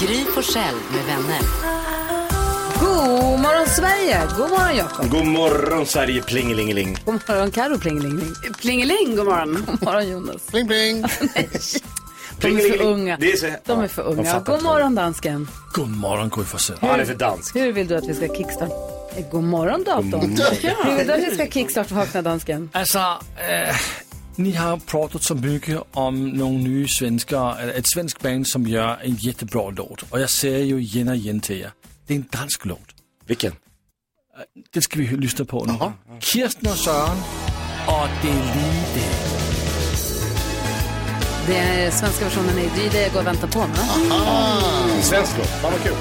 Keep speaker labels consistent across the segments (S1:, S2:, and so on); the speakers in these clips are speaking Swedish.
S1: Gry Forssell med vänner.
S2: God morgon Sverige! God morgon Jakob!
S3: God morgon Sverige plingelingeling.
S2: God morgon Karo Plingeling.
S4: Plingeling, god morgon.
S2: God morgon Jonas.
S5: Pling, pling.
S2: De är för
S3: Plingelingeling.
S2: unga.
S3: Det är så-
S2: De är för
S3: de
S2: unga.
S3: fattar
S2: God
S3: inte.
S2: morgon dansken.
S6: God morgon Gry Forssell.
S3: Han är för dansk.
S2: Hur vill du att vi ska kickstart? Eh, God morgon datorn. Hur vill du att vi ska kickstart vakna dansken?
S6: Alltså, eh, ni har pratat så mycket om några nya svenskar, eller ett svenskt band som gör en jättebra låt. Och jag säger ju igen och igen till er, det är en dansk låt.
S3: Vilken?
S6: Det ska vi lyssna på nu. Kirsten och Sören och det är lite.
S2: Det är svenska versionen i det är det jag går och väntar på. Va?
S3: Svensk låt. Fan vad kul.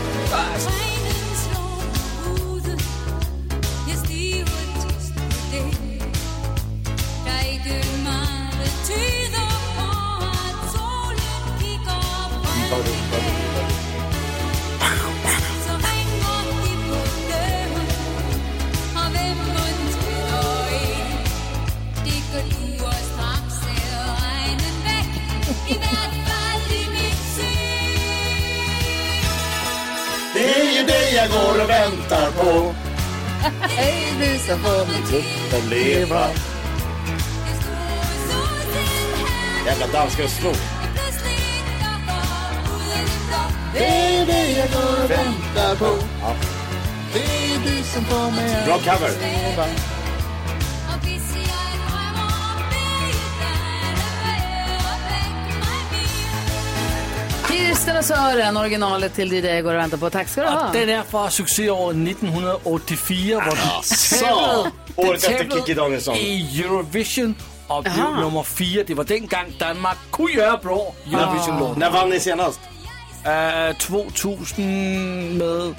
S7: I hvert fall i mitt syn
S5: Det är ju det jag går och väntar på.
S2: Hej du som
S7: kommer till
S3: De lever.
S7: En stor solsken här
S3: Jävla danska Östro.
S7: i plötsligt dagar Uden en dag
S5: Det är det jag går och väntar på. Det är du som får mig
S3: Bra cover.
S7: Og hvis jeg drømmer om dig Der er vær og væk mig bil
S2: Kirsten och Sören, originalet till det jag går och väntar på. Tack ska du ha.
S4: Ah.
S6: Och den är från succéåret 1984. Hvor
S3: Så! Året efter Kikki
S6: Danielsson.
S3: Danielsson.
S6: i Eurovision och blev nummer fyra. Det var den gång Danmark kunde göra bra Eurovision-låt.
S3: När vann ni senast?
S6: Uh, 2000 med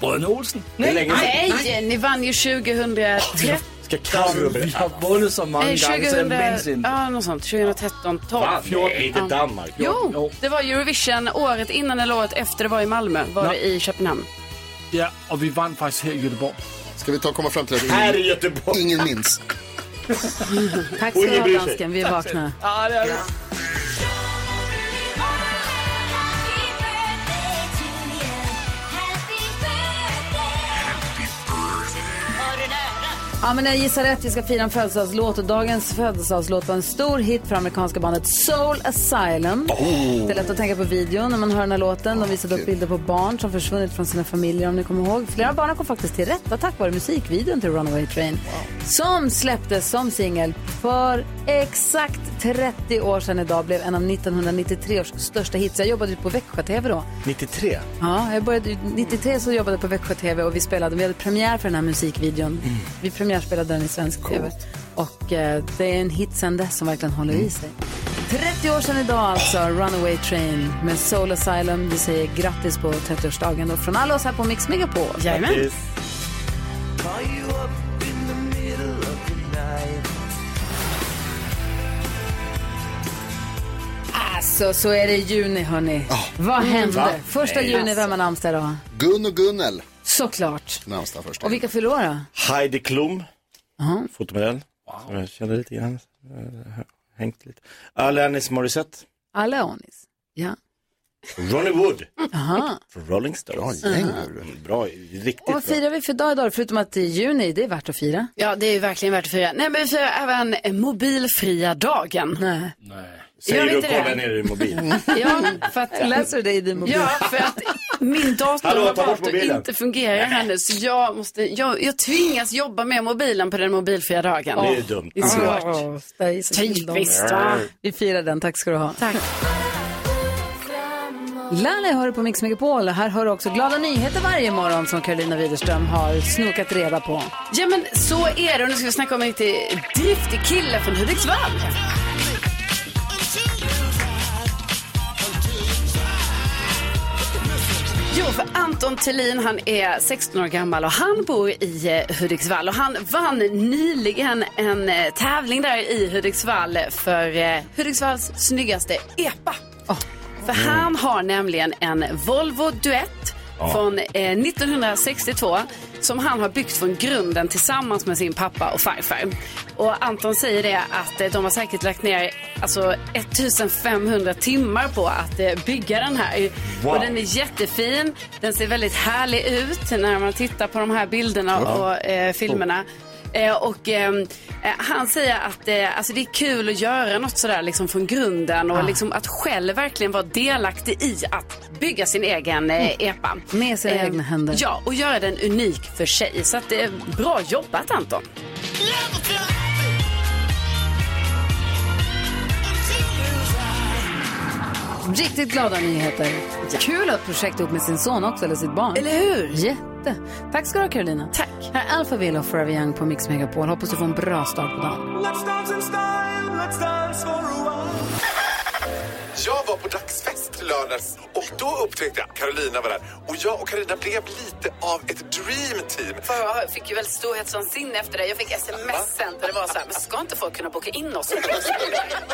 S6: Brødrene Olsen.
S3: Det är
S6: Nej,
S3: länge sedan.
S4: Nej, ni vann ju 2013.
S3: Ska cover
S6: vi
S3: berätta.
S6: har vundet så många
S4: Nej,
S6: gånger så
S4: 2000,
S6: jag minns inte.
S4: ja, något sånt. 2013, 12,
S3: Fan, nej,
S4: 14.
S3: inte Danmark.
S4: Jo,
S6: Jo.
S4: det var Eurovision året innan eller året efter det var i Malmö, var det i Köpenhamn.
S6: Ja, och vi vann faktiskt här i Göteborg.
S8: Ska vi ta och komma fram till att
S3: Här
S8: ingen,
S3: i Göteborg.
S8: ingen minns?
S2: Tack ska
S3: Oj,
S2: du
S3: bryr
S2: ha
S3: sig.
S2: dansken, vi är vakna.
S6: Ja, det är
S7: Happy birthday to you Happy birthday Var du nära?
S2: Ja, men jag gissar rätt. Vi ska fira en födelsedagslåt och dagens födelsedagslåt var en stor hit för amerikanska bandet Soul Asylum. Det är lätt att tänka på videon när man hör den här låten. De visade upp bilder på barn som försvunnit från sina familjer om ni kommer ihåg. Flera barn kom faktiskt till rätta tack vare musikvideon till Runaway Train. Som släpptes som singel för exakt 30 år sedan idag. Blev en av 1993 års största hits. Jag jobbade ju på Växjö-TV då.
S3: 93.
S2: Ja, jag började 93 så jobbade jag på Växjö TV och vi spelade, vi hade premiär för den här musikvideon. Vi premiärspelade den i svensk TV. Och eh, det är en hit sen dess som verkligen håller i sig. 30 år sedan idag alltså, Runaway Train med Soul Asylum. Vi säger grattis på 30-årsdagen och från alla oss här på Mix Megapol.
S4: Jajamän.
S2: Alltså, så är det juni hörni. Vad hände? Första juni, vem har namnsdag idag?
S8: Gun och Gunnel.
S2: Såklart.
S8: Namnsdag först.
S2: Och vilka fyller år då?
S3: Heidi Klum. Fotomodell. Som jag känner lite grann. Eh, Hängt lite. Alanis Morissette.
S2: Aleonis. Ja.
S3: Ronnie Wood. Från Rolling Stones.
S8: Bra gäng,
S3: Mm, Bra, riktigt
S2: Och vad
S3: bra.
S2: firar vi för dag idag? Förutom att det är juni, det är värt att fira.
S4: Ja, det är ju verkligen värt att fira. Nej, men vi firar även eh, mobilfria dagen.
S2: Nej.
S4: Gör
S3: Säger
S4: vi
S3: du och
S4: inte det?
S3: kollar ner i din mobil.
S4: Ja, för att...
S2: Läser du det i din mobil?
S4: Ja, för att min dator
S3: Hallå,
S4: har
S3: ta bort
S4: valt att
S3: mobilen.
S4: inte fungerar här nu. Så jag, måste, jag, jag tvingas jobba med mobilen på den mobilfria dagen.
S3: Det är ju dumt.
S4: Det är svårt.
S2: Åh, där är så synd om.
S4: Typiskt, va?
S2: Vi firar den, tack ska du ha. Tack. Laleh hör du på Mix Megapol. Här hör du också glada nyheter varje morgon som Karolina Widerström har snokat reda på.
S4: Ja men så är det och nu ska vi snacka om en riktigt driftig kille från Hudiksvall. Jo, för Anton Thelin, han är 16 år gammal och han bor i eh, Hudiksvall. Och han vann nyligen en eh, tävling där i Hudiksvall för eh, Hudiksvalls snyggaste EPA. För
S7: Mm.
S4: han har nämligen en Volvo Duett
S7: Ja.
S4: från eh, 1962 som han har byggt från grunden tillsammans med sin pappa och farfar. Och Anton säger det att eh, de har säkert lagt ner alltså 1500 timmar på att eh, bygga den här.
S7: Wow.
S4: Och den är jättefin. Den ser väldigt härlig ut när man tittar på de här bilderna
S7: Ja.
S4: och eh, filmerna.
S2: Oh.
S4: Eh, och, ehm, eh, han säger att eh, alltså det är kul att göra något sådär liksom från grunden och
S2: Ah.
S4: liksom att själv verkligen vara delaktig i att bygga sin egen eh, EPA.
S2: Mm. Med sina
S4: Eh,
S2: egna händer.
S4: Ja, och göra den unik för sig. Så att det är bra jobbat Anton.
S2: Riktigt glada nyheter. Kul att projekt ihop med sin son också, eller sitt barn.
S4: Eller hur?
S2: Jätte. Tack ska du ha, Carolina.
S4: Tack.
S2: Här är Alphaville och Forever Young på Mix Megapol. Hoppas du får en bra start på dagen.
S7: Let's dance in style, let's dance for a while.
S9: Jag var på dagsfest i lördags och då upptäckte jag att Carolina var där. Och jag och Carolina blev lite av ett dream team.
S4: Jag fick ju väl storhetsvansinne efter det. Jag fick sms sen där det var så här, men ska inte folk kunna boka in oss?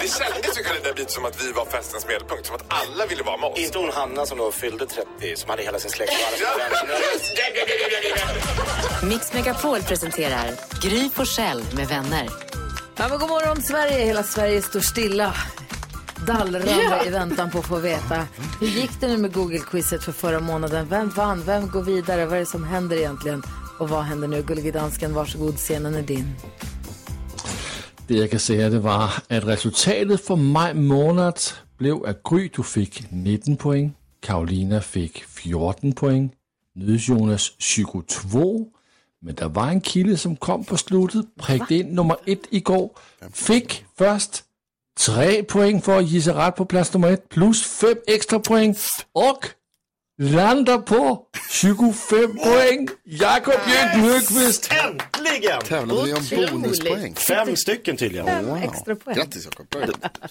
S9: Det kändes ju Carolina lite som att vi var festens medelpunkt, som att alla ville vara med oss.
S3: Inte hon Hanna som då fyllde 30, som hade hela sin släkt och alla sina
S1: Mix Megapol presenterar Gry på Själ med vänner.
S2: Ja, men god morgon, Sverige. Hela Sverige står stilla. Dallrar
S1: Ja.
S2: i väntan på att få veta. Hur gick det nu med Google-quizet för förra månaden? Vem vann? Vem går vidare? Vad är det som händer egentligen? Och vad händer nu? Gullige dansken, varsågod, scenen är din.
S6: Det jeg kan sige, det var, at resultatet for maj måned blev, at Gry, du fik 19 point, Karolina fik 14 point, Nydes Jonas 22, men der var en kilde, som kom på sluttet, prikket ind nummer 1 i går, fik først 3 point for at give sig ret på plads nummer 1, plus 5 ekstra point, og lander på 25 point. Jakob Jørgen Høgqvist.
S3: Äntligen!
S8: Tävlade vi om Otroligt. bonuspoäng?
S3: Fem stycken tydligen.
S8: Fem Wow. extra poäng. Grattis, Jakob.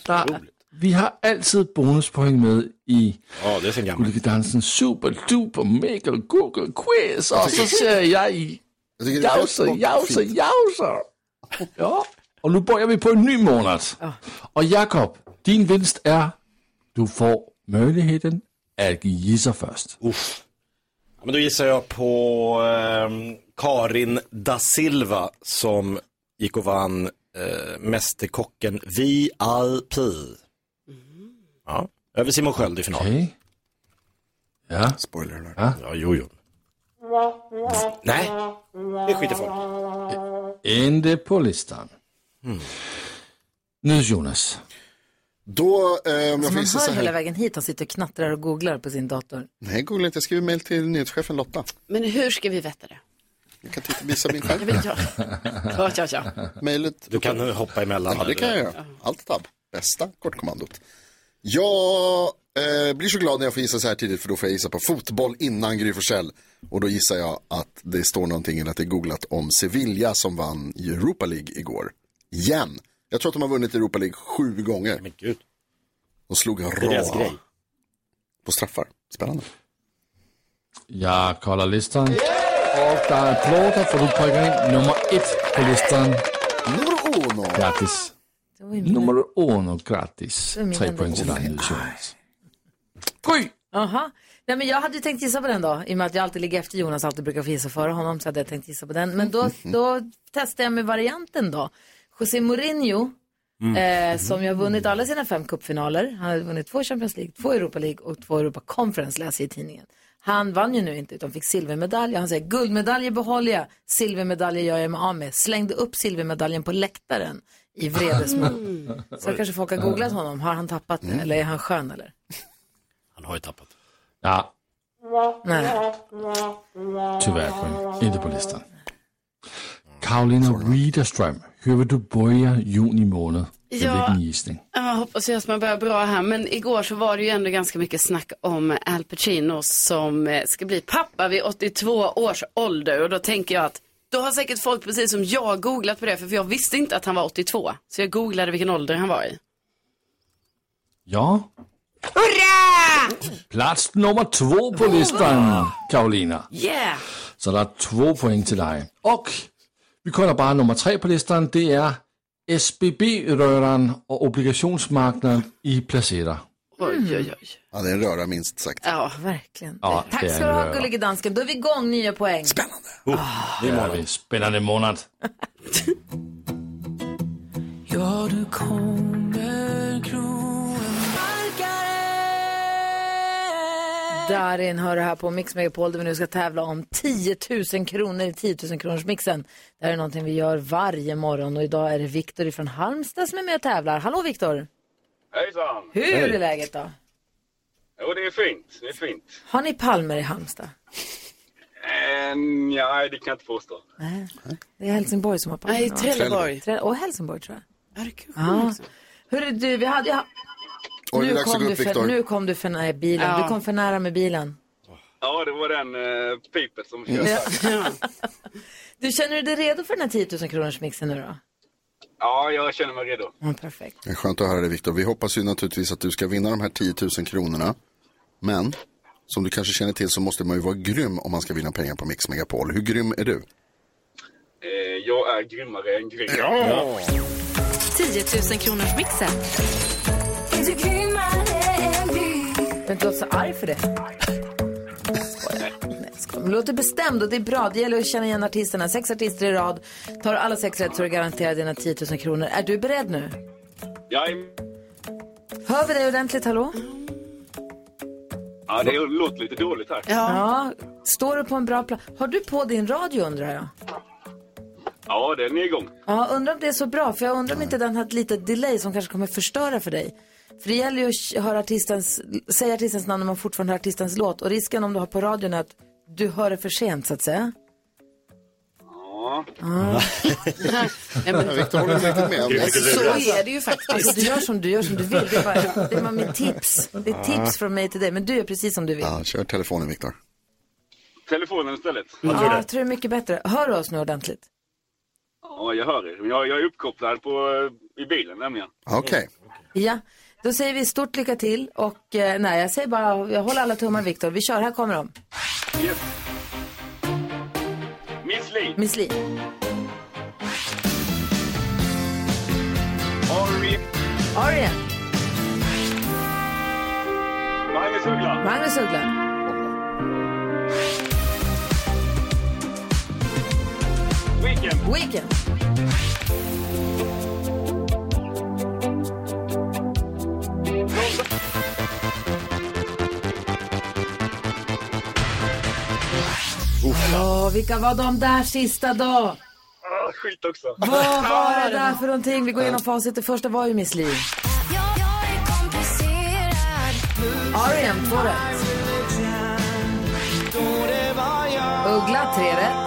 S6: Der, vi har altid bonuspoint med i
S3: Ja, det är sen gammalt.
S6: Dansen super duper mega google quiz, og så ser jeg i
S8: det er
S6: jauser,
S8: fint.
S6: jauser, jauser. Ja, og nu bor vi på en ny måned. Og Jakob, din vinst er, du får muligheden at give sig først.
S3: Uff. Ja, men då gissar jag på ehm, Karin da Silva som gick och vann eh, Mästerkocken VIP. Ja, över Simon Sköld i finalen.
S6: Ja.
S3: Spoiler alert. Ja, jo, jo. Nej, det skiter folk
S6: Endte på listen. Hmm. Nydes Jonas.
S8: Då, eh, om jag
S2: Så
S8: får
S2: man
S8: gissa så
S2: hör hela
S8: här.
S2: vägen hit och sitter och knattrar och googlar på sin dator.
S8: Nej, googla inte. Jag skriver mejl till nyhetschefen Lotta.
S4: Men hur ska vi veta det?
S8: Jag kan titta, visa min
S4: Jag vill göra. Ja, ja, ja.
S8: Mejlet.
S3: Du kan hoppa emellan.
S8: Ja, det kan jag göra. Allt tab. Bästa kortkommandot. Jag eh, blir så glad när jag får gissa så här tidigt för då får jag gissa på fotboll innan Gry Forssell. Och då gissar jag att det står någonting eller att det är googlat om Sevilla som vann Europa League igår. Igen. Jag tror att de har vunnit Europa League sju gånger. Men
S3: gud.
S8: De slog
S3: Det är deras
S8: Rå
S3: grej.
S8: på straffar. Spännande.
S6: Jeg kolder listen, og der er applauder, for du prikker ind nummer 1 på listen.
S8: Nummer uno.
S6: Gratis. Nummer uno, gratis. Tre point til dig, Niels Jonas. Gry!
S2: Aha. Nej, men jag hade ju tänkt gissa på den då, i och med att jag alltid ligger efter Jonas och alltid brukar få gissa före honom. Så hade jag tänkt gissa på den. Men då, då testade jag med varianten då. José Mourinho, eh, som ju har vunnit alla sina fem cupfinaler. Han har vunnit två Champions League, två Europa League och två Europa Conference, läser jag i tidningen. Han vann ju nu inte, utan fick silvermedalj. Han säger, guldmedaljer behåller jag, silvermedaljer gör jag mig av med. Slängde upp silvermedaljen på läktaren i vredesmod. Så kanske folk har googlat honom. Har han tappat det, eller är han skön eller?
S3: Han har ju tappat.
S6: Ja,
S2: Nej.
S6: tyvärr Gry. Inte på listen. Karolina Widerström, hører du bøjer juni måned? Ja.
S4: Ja.
S6: Hvilken gissning?
S4: Ja, hoppas jag att man börjar bra här. Men igår så var det ju ändå ganska mycket snack om Al Pacino som eh, ska bli pappa vid 82 års ålder. Och då tänker jag att då har säkert folk precis som jag googlat på det. För jag visste inte att han var 82. Så jag googlade vilken ålder han var i.
S6: Ja.
S10: Hurra!
S6: Plats nummer två på listan, Karolina.
S10: Yeah!
S6: Så der er två poäng till dig. Och vi kollar bara nummer tre på listan. Det är SBB-röran och obligationsmarknaden i Placera.
S4: Oj,
S2: Mm.
S4: oj, oj.
S8: Ja, det är en röra minst sagt.
S4: Ja,
S2: verkligen.
S6: Ja,
S2: Tack
S6: det är
S2: ska du
S6: det,
S2: ha,
S6: ja.
S2: gullige dansken. Då är vi igång, nya poäng.
S8: Spännande.
S6: det är vi. Spännande månad.
S11: Ja, du kommer kroen
S2: Darin hör det här på Mix Megapol där vi nu ska tävla om 10 000 kronor i 10 000 kronors mixen. Det här är någonting vi gör varje morgon och idag är det Viktor från Halmstad som är med och tävlar. Hallå Viktor!
S12: Hejsan!
S2: Hur är läget då?
S12: Jo, det är fint. Det är fint.
S2: Har ni palmer i Halmstad?
S12: Äh, nej, det kan jag inte påstå.
S2: Nej. Det är Helsingborg som har palmer.
S12: Nej, Trelleborg.
S2: Trelle- Och Helsingborg tror jag. Ja. Hur är du, vi hade ju...
S12: Oj, det är
S2: nu,
S12: dags att
S2: kom
S12: gå
S2: du
S12: upp,
S2: för,
S12: Viktor.
S2: nu kom du för nära bilen.
S12: Ja.
S2: Du kom för nära med bilen.
S12: Ja, det var den eh, pipet som
S2: Ja.
S12: fjärde. Ja.
S2: Du känner dig redo för den här 10 000 kronors mixen nu då?
S12: ja, jag känner mig redo.
S2: Ja, perfekt.
S8: Det är skönt att höra det Viktor. Vi hoppas ju naturligtvis att du ska vinna de här 10 000 kronorna. Men, som du kanske känner till så måste man ju vara grym om man ska vinna pengar på Mix Megapol. Hur grym är du?
S12: Eh, jag är grymmare än grym.
S8: Ja.
S1: 10 000 kronors mixen.
S2: Men inte låta så arg för det. Nej, jag skojar. Men Låter bestämd och det är bra. Det gäller att känna igen artisterna. Sex artister i rad. Tar du alla sex rätt så är du garanterad dina 10 000 kronor. Är du beredd nu?
S12: Jag
S2: Hör vi dig ordentligt, hallå?
S12: ja, det låter lite dåligt här.
S2: Ja. Står du på en bra plats? Har du på din radio undrar jag?
S12: Ja, den är igång.
S2: Ja, undrar om det är så bra. För jag undrar om inte den har ett litet delay som kanske kommer förstöra för dig. För det gäller ju att höra artistens, säga artistens namn när man fortfarande hör artistens låt. Och risken om du har på radion är att du hör det för sent så att säga.
S12: Ja.
S2: Ja.
S4: Nej, men-
S8: Viktor håller inte riktigt med om det.
S4: Så är det ju
S2: Alltså, du
S4: faktiskt.
S2: gör som du gör som du vill. Det är, bara, det är bara mitt tips. Det är
S8: Ja.
S2: tips från mig till dig. Men du gör precis som du vill.
S8: Ja, kör telefonen Viktor.
S12: Telefonen istället.
S2: Ja, jag tror det är mycket bättre. Hör du oss nu ordentligt?
S12: Ja, jag hör er. Men Jag, jag är uppkopplad på, eh, i bilen nämligen.
S8: Okej.
S2: Ja. Då säger vi stort lycka till och eh, nej, jag säger bara, jag håller alla tummar Viktor. Vi kör, här kommer de.
S12: Miss Li,
S2: Miss Li,
S12: Ari,
S2: Arjen,
S12: Magnus Uggla,
S2: Magnus Uggla,
S12: Weekend,
S2: Weekend, Ja, vilka var de där sista då?
S12: Ah, skit också.
S2: Vad var det där för någonting? Vi går igenom facit. Det första var ju Miss Li. R.E.M. E två rätt. Uggla tre rätt.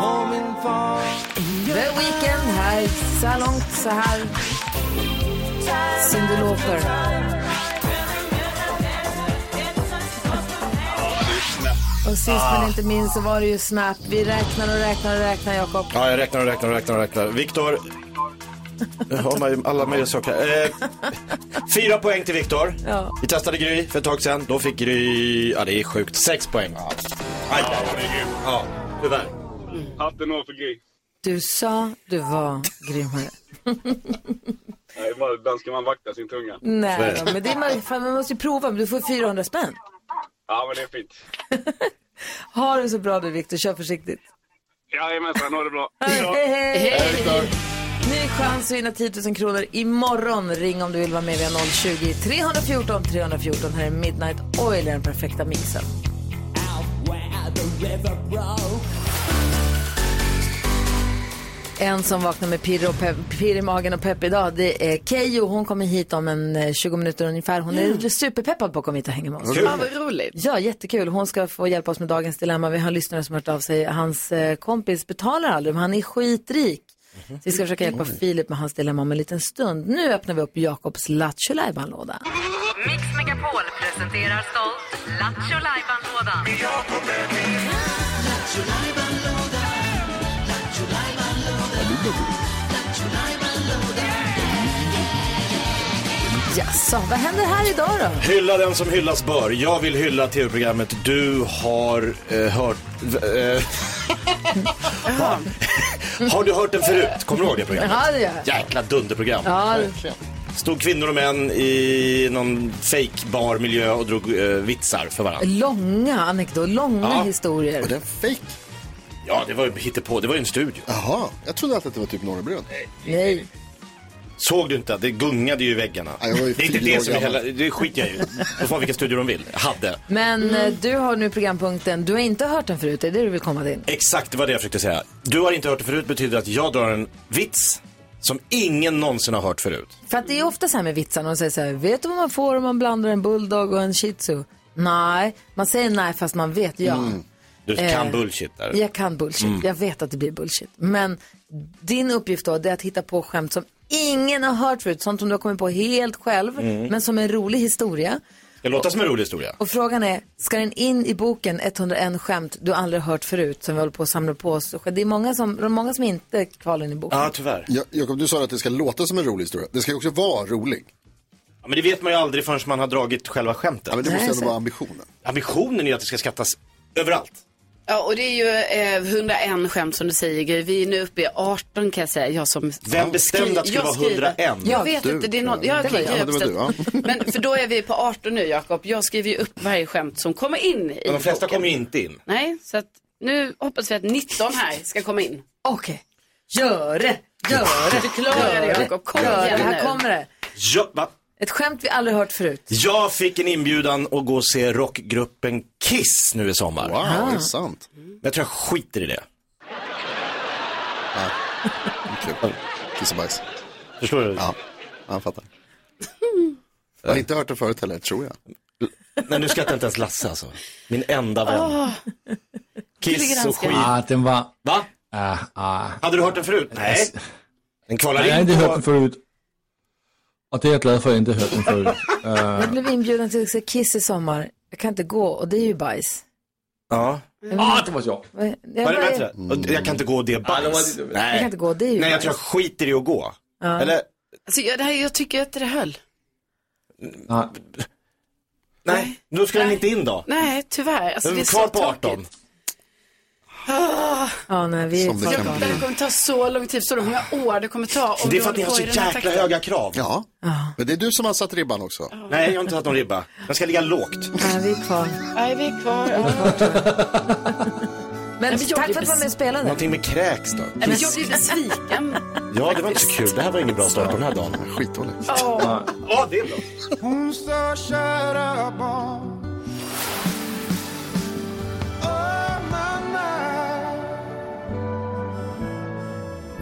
S2: The Weeknd här. Så här långt, så här. Cyndi Lauper. Och sist men inte minst så var det ju Snap. Vi räknar och räknar och räknar, Jakob.
S3: Ja, jag räknar och räknar och räknar och räknar. Viktor. Nu har man ju alla möjliga saker. Eh, fyra poäng till Viktor.
S2: Ja.
S3: Vi testade Gry för ett tag sedan. Då fick Gry, ja det är sjukt, sex poäng. Aj, aj, aj. Ja, tyvärr.
S12: Hatten av för Gry.
S2: Du sa du var grymmare.
S12: Nej, bara- Ibland ska man vakta sin tunga.
S2: Nej, då, men det är, man- fan, man måste ju prova. Du får 400 spänn.
S12: Ja, men det är fint.
S2: Ha det så bra du, Viktor. Kör försiktigt.
S12: Jajamensan, ha det bra.
S2: Hej, hej.
S12: Hej, Viktor.
S2: Ny chans att vinna 10 000 kronor imorgon. Ring om du vill vara med. Vi har 020 314 314. Här är Midnight Oil, den perfekta mixen. En som vaknar med pirr, och pepp, pirr i magen och pepp idag, det är Keyyo. Hon kommer hit om en eh, 20 minuter ungefär. Hon är
S8: Mm.
S2: superpeppad på att komma hit och hänga med oss.
S4: Ja, vad roligt.
S2: Ja, jättekul. Hon ska få hjälpa oss med dagens dilemma. Vi har en lyssnare som har hört av sig. Hans eh, kompis betalar aldrig, men han är skitrik. Så
S3: Mhm.
S2: vi ska försöka hjälpa Filip med hans dilemma om en liten stund. Nu öppnar vi upp Jakobs Lattjo låda
S1: Mix Megapol presenterar stolt Lattjo Lajban-lådan.
S2: Jaså, vad händer här idag då?
S3: Hylla den som hyllas bör. Jag vill hylla tv-programmet Du har eh, hört... v- Eh, har du hört den förut? Kommer du ihåg det programmet?
S2: Ja, det gör jag.
S3: Jäkla dunderprogram.
S2: Ja,
S3: Stod kvinnor och män i någon fake bar miljö och drog eh, vitsar för varandra.
S2: långa anekdoter, långa
S3: Ja.
S2: historier.
S8: den fake?
S3: Ja, det var ju hittepå. Det var ju en studio.
S8: Jaha, jag trodde alltid att det var typ Norrebrunn.
S2: Nej.
S3: Såg du inte? Det gungade ju i väggarna.
S8: var ju
S3: det är inte
S8: fyra år
S3: det som är hela...
S8: gammal.
S3: Det skiter jag i. De får ha vilka studior de vill. Hade.
S2: Men eh, du har nu programpunkten, du har inte hört den förut, det är det du vill komma till?
S3: Exakt, det var det jag försökte säga. Du har inte hört det förut betyder att jag drar en vits som ingen någonsin har hört förut.
S2: För att det är ju ofta så här med vitsar, någon säger så här, vet du vad man får om man blandar en bulldog och en shih tzu? Nej, man säger nej fast man vet ja.
S3: Mm. Du
S2: Eh,
S3: kan bullshit där.
S2: Jag kan bullshit,
S3: Mm.
S2: jag vet att det blir bullshit. Men din uppgift då, det är att hitta på skämt som ingen har hört förut, sånt som du har kommit på helt själv,
S3: Mm.
S2: men som är en rolig historia.
S3: Det låter som en rolig historia.
S2: Och frågan är, ska den in i boken 101 skämt du aldrig hört förut som vi håller på att samla på oss? Det är många som, det är många som inte är kvar in i boken.
S3: tyvärr.
S8: Ja, Jakob, du sa att det ska låta som en rolig historia. Det ska ju också vara rolig.
S3: Ja, men det vet man ju aldrig förrän man har dragit själva skämtet.
S8: men det måste Nej, ändå så- vara ambitionen.
S3: Ambitionen är ju att det ska skattas överallt.
S4: Ja, och det är ju eh, 101 skämt som du säger Gry. Vi är nu uppe i 18 kan jag säga. Jag som
S3: Vem bestämde att det skulle
S4: Jag
S3: vara
S4: skriver.
S3: 101?
S4: Jag vet
S3: Du,
S4: inte, det är något.
S3: tror jag.
S4: Ja, okej,
S3: Det var jag. Ja,
S4: jag
S3: det var
S4: har bestämt. Men för då är vi på 18 nu Jakob. Jag skriver ju upp varje skämt som kommer in i
S3: Men de flesta
S4: boken.
S3: kommer ju inte in.
S4: Nej, så att nu hoppas vi att 19 här ska komma in.
S2: Okej. Gör det! Gör det! Du
S4: klarar det, Jakob. Kom igen nu.
S2: Här kommer det.
S3: Ja, va?
S2: Ett skämt vi aldrig hört förut.
S3: Jag fick en inbjudan att gå och se rockgruppen Kiss nu i sommar.
S2: Wow, Ah. det är
S8: sant.
S3: Jag tror jag skiter i det.
S8: Okej. Kiss och bajs.
S3: Förstår du?
S8: Ja, Ja, jag fattar. Jag har inte hört det förut heller, tror jag.
S3: Nej, nu skrattar inte ens Lasse alltså. Min enda vän. Kiss och skit.
S6: Ah, den var...
S3: Va?
S6: Ah, ah.
S3: Hade du hört den förut? Nej. Den kvalar
S6: Nej, jag har
S3: in
S6: inte hört den
S3: på...
S6: förut. Och det är jag glad för att jag inte har hört den förut.
S2: Jag
S6: Eh,
S2: blev inbjuden till att se Kiss i sommar. Jag kan inte gå och det är ju bajs.
S3: Ja.
S6: ah, det var jag.
S2: Vad- jag
S3: Var det
S2: bara-
S3: bättre? Och Jag kan inte gå, det är
S6: Ja, det var
S3: bajs.
S6: lite-
S2: Jag kan inte gå, det är ju
S3: Nej, jag
S2: bajs.
S3: tror jag skiter i att gå.
S2: Ja.
S3: Eller,
S4: Alltså, jag, det här, jag tycker att det höll.
S6: Ah.
S3: nej, då ska den inte in då.
S4: Nej, tyvärr. Alltså,
S3: Den
S4: det
S3: är
S4: är
S3: kvar
S4: så
S3: på 18.
S4: Ah.
S2: Ja, nej, vi är
S3: Som det
S2: kvar
S3: kan
S2: på
S3: bli.
S2: det.
S4: Det kommer ta så lång tid. Så hur många år det kommer ta om
S3: Det är
S4: du
S3: för att ni
S4: håller
S3: har så
S4: på i den här
S3: jäkla
S4: takten.
S3: höga krav.
S8: Ja, men det är du som har satt ribban också.
S3: Nej, jag har inte satt någon ribba. Den ska ligga lågt.
S2: Nej, vi är kvar.
S4: Nej, vi är kvar. Ja.
S2: Men
S4: jag
S2: tack
S4: blir
S2: för att du var med och spelade.
S3: Någonting med kräks då?
S4: Nej, men jag blir besviken.
S3: Ja, det var inte så kul. Det här var ingen bra start på den här dagen.
S8: Skitdåligt.
S4: Ja.
S3: Ja, det är bra.
S7: Hon sa kära barn Åh mamma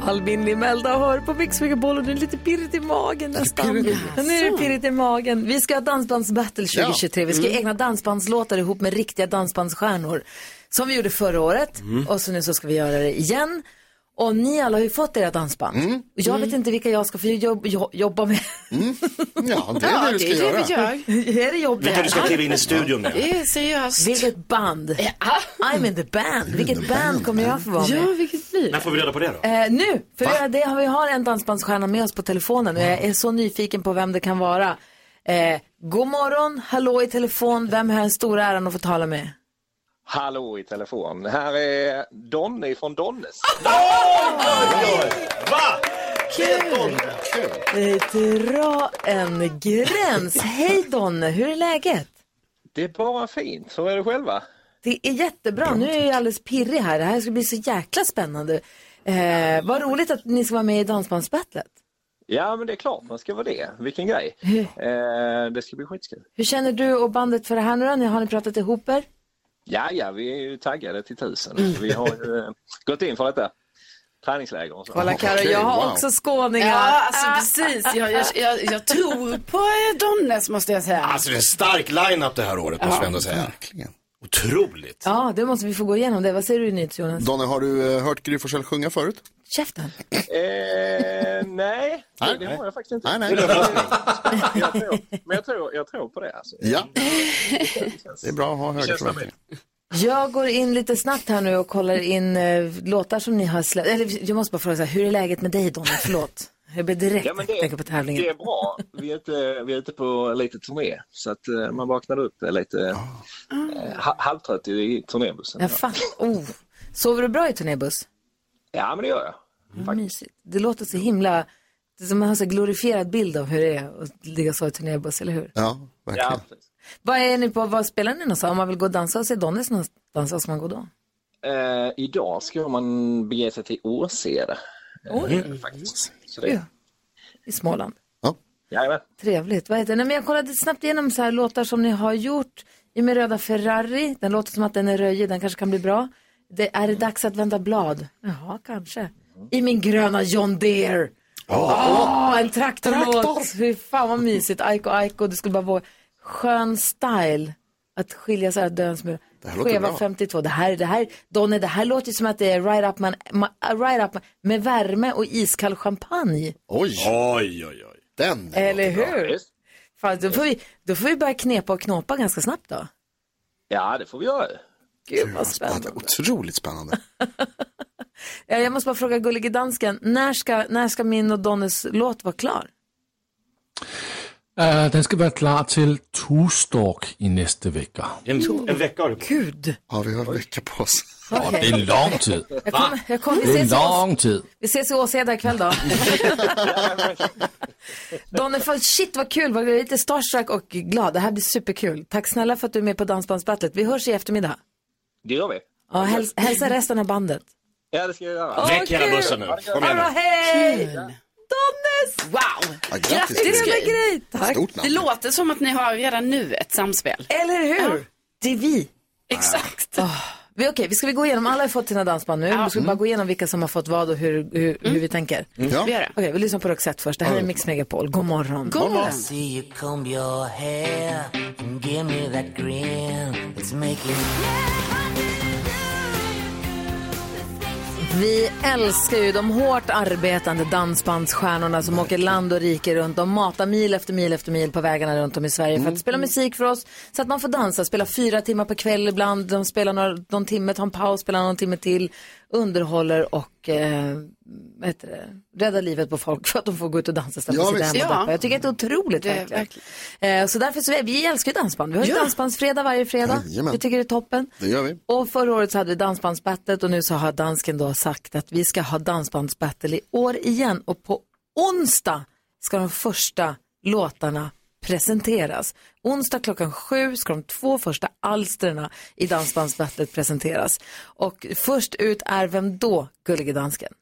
S2: Albin Limelda hör på Mix Megapol och det är lite pirrigt i magen nästan.
S7: pirrigt i
S2: Ja, Nu är det pirrigt i magen. Vi ska ha dansbandsbattle 2023. Vi ska
S7: Ja.
S8: Mm.
S2: göra egna dansbandslåtar ihop med riktiga dansbandsstjärnor. Som vi gjorde förra året
S7: Mm.
S2: och så nu så ska vi göra det igen. Och ni alla har ju fått era dansband.
S8: Mm.
S2: Och jag vet inte vilka jag ska få jobb, jo- jobba med.
S8: Ja,
S4: det är Ja, det du det ska är det vi göra.
S2: är det jobb det
S3: Vilka
S2: här?
S3: du ska kliva in i studion med.
S4: Det är seriöst.
S2: Vilket band? I'm in the band. Vilket band kommer jag få vara med?
S4: Ja, vilket blir
S3: När får vi reda på det då?
S2: Eh, nu, för att göra det har vi har en dansbandsstjärna med oss på telefonen och jag är så nyfiken på vem det kan vara. Eh, god morgon, hallå i telefon, vem har jag den stora äran att få tala med?
S10: Hallå i telefon. Här är Donny från Donnes.
S3: Va?
S2: Kul! Eh, dra en gräns. Hej Donne, hur är läget?
S10: Det är bara fint. Hur är det själva?
S2: Det är jättebra, nu är jag alldeles pirrig här. Det här ska bli så jäkla spännande. Eh, vad roligt att ni ska vara med i Dansbandsbattlet.
S10: Ja, men det är klart man ska vara det. Vilken grej. Eh, det ska bli skitkul.
S2: Hur känner du och bandet för det här nu då? Ni- Har ni pratat ihop er?
S10: Ja, ja, vi är ju taggade till tusen. Vi har ju eh, gått in för detta. Träningsläger och så.
S2: Kolla Karo, jag har också skåningar.
S4: Ja, alltså precis. Jag, jag, jag, jag tror på eh, Donnes måste jag säga.
S3: Alltså det är en stark line-up det här året måste vi ändå säga. Verkligen. Otroligt.
S2: Ja, det måste vi få gå igenom det. Vad säger du nytt Jonas?
S8: Donny, har du eh, hört Gry Forssell sjunga förut?
S2: Käften.
S10: Eh, nej,
S8: Nej,
S10: det
S8: nej.
S10: har jag faktiskt inte.
S8: Nej, nej.
S10: Det är en överraskning. Jag tror, men jag tror, jag tror på det. Alltså.
S8: Ja. Det är bra att ha höga
S10: Känns
S8: förväntningar.
S2: Jag går in lite snabbt här nu och kollar in eh, låtar som ni har släppt. Eller jag måste bara fråga så här, hur är läget med dig Donna? Förlåt. Jag blir direkt
S10: Ja, men det-
S2: tänka på tävlingen.
S10: Det är bra. Vi är ute, vi är ute på lite turné så att eh, man vaknar upp eh, lite
S4: Ah.
S10: eh, ha- halvtrött i, i turnébussen.
S2: Jag fattar. Oh. Sover du bra i turnébuss?
S10: Ja, men det gör jag.
S2: Vad Mysigt. Det låter så himla... Det är som man har så glorifierad bild av hur det är att ligga så i turnébuss, eller hur?
S8: Ja, verkligen.
S2: Vad är ni på, vad spelar ni någonstans? Om man vill gå och dansa och se Donis någonstans, vad ska man gå då?
S10: Eh, idag ska man bege sig till Åseda. eh,
S2: Oj.
S10: Faktiskt. Så det,
S2: Ja. I Småland.
S10: Jajamän.
S2: Trevligt. Vad heter det? Nej, men jag kollade snabbt igenom så här låtar som ni har gjort. I med röda Ferrari, den låter som att den är röjig, den kanske kan bli bra. Det är det dags att vända blad. Jaha, kanske. I min gröna John Deere. Åh, en traktorlåt. Hur fan vad mysigt. Aiko, Aiko, det skulle bara vara skön style. Att skilja sig, att dö en smula.
S7: Det här låter
S2: Skeva
S7: bra.
S2: 52, det här, det här, Donny, det här låter ju som att det är right up, man, ma, right up man, med värme och iskall champagne.
S8: Oj.
S3: Oj, oj, oj.
S8: Den.
S2: Eller hur? Fan, då, får vi, då får vi börja knepa och knåpa ganska snabbt då.
S10: Ja, det får vi göra.
S2: Gud vad spännande.
S8: Otroligt spännande.
S2: Eh, Jag måste bara fråga Gullige Dansken, när ska, när ska min och Donnys låt vara klar?
S6: Øh, den skal være klar til Tustork i næste vecka.
S3: En,
S8: Mm.
S3: en vecka har du
S2: Gud.
S8: Ja, vi har en vecka på oss.
S6: Ja, det er lang tid.
S2: Jag kommer, jag kommer, vi,
S6: Det
S2: ses i,
S6: er
S2: Ås-
S6: lang tid.
S2: vi ses i Åseda ikväll då. Donny, fan, shit vad kul, vad jag är lite starstruck och glad. Det här blir superkul. Tack snälla för att du är med på Dansbandsbattlet. Vi hörs i eftermiddag.
S10: Det gör vi.
S2: Ja, häls, hälsa resten av bandet.
S10: Ja, det ska jag göra.
S2: Åh, Väck hela kul! bussen nu. Kom igen nu. Hallå, hej!
S4: Donnes! Wow!
S8: Ja,
S2: grattis, Gry. grej! Tack!
S4: Det låter som att ni har redan nu ett samspel.
S2: Eller hur? Det är vi.
S4: Exakt.
S2: Vi, okej, vi ska vi gå igenom, alla har fått sina dansband nu. Vi ska vi bara gå igenom vilka som har fått vad och hur, hur, hur vi tänker.
S7: Mm. Ja. Vi gör det.
S2: Okej, vi lyssnar på Roxette först. Det här är Mix Megapol. God morgon.
S7: Come on. See you comb your hair and give me that grin. It's making
S2: Vi älskar ju de hårt arbetande dansbandsstjärnorna som åker land och rike runt. De matar mil efter mil efter mil på vägarna runt om i Sverige för
S7: Mm.
S2: att spela musik för oss. Så att man får dansa, spela fyra timmar per kväll ibland. De spelar några, någon timme, tar en paus, spelar någon timme till. Underhåller och eh, vad heter det? räddar livet på folk för att de får gå ut och dansa istället
S7: Ja,
S2: för att
S7: visst.
S2: sitta hemma
S7: Ja.
S2: och deppa. Jag tycker att det är otroligt
S7: Det är
S2: verkligen. Eh, så därför så, är- vi älskar ju dansband. Vi har ju
S7: Ja.
S2: dansbandsfredag varje fredag.
S8: Jajamän.
S2: Vi tycker det är toppen.
S8: Det gör vi.
S2: Och förra året så hade vi dansbandsbattlet och nu så har dansken då sagt att vi ska ha dansbandsbattle i år igen och på onsdag ska de första låtarna presenteras. Onsdag klockan sju ska de två första alstren i dansbandsbattlet presenteras. Och först ut är vem då, Gullige Dansken?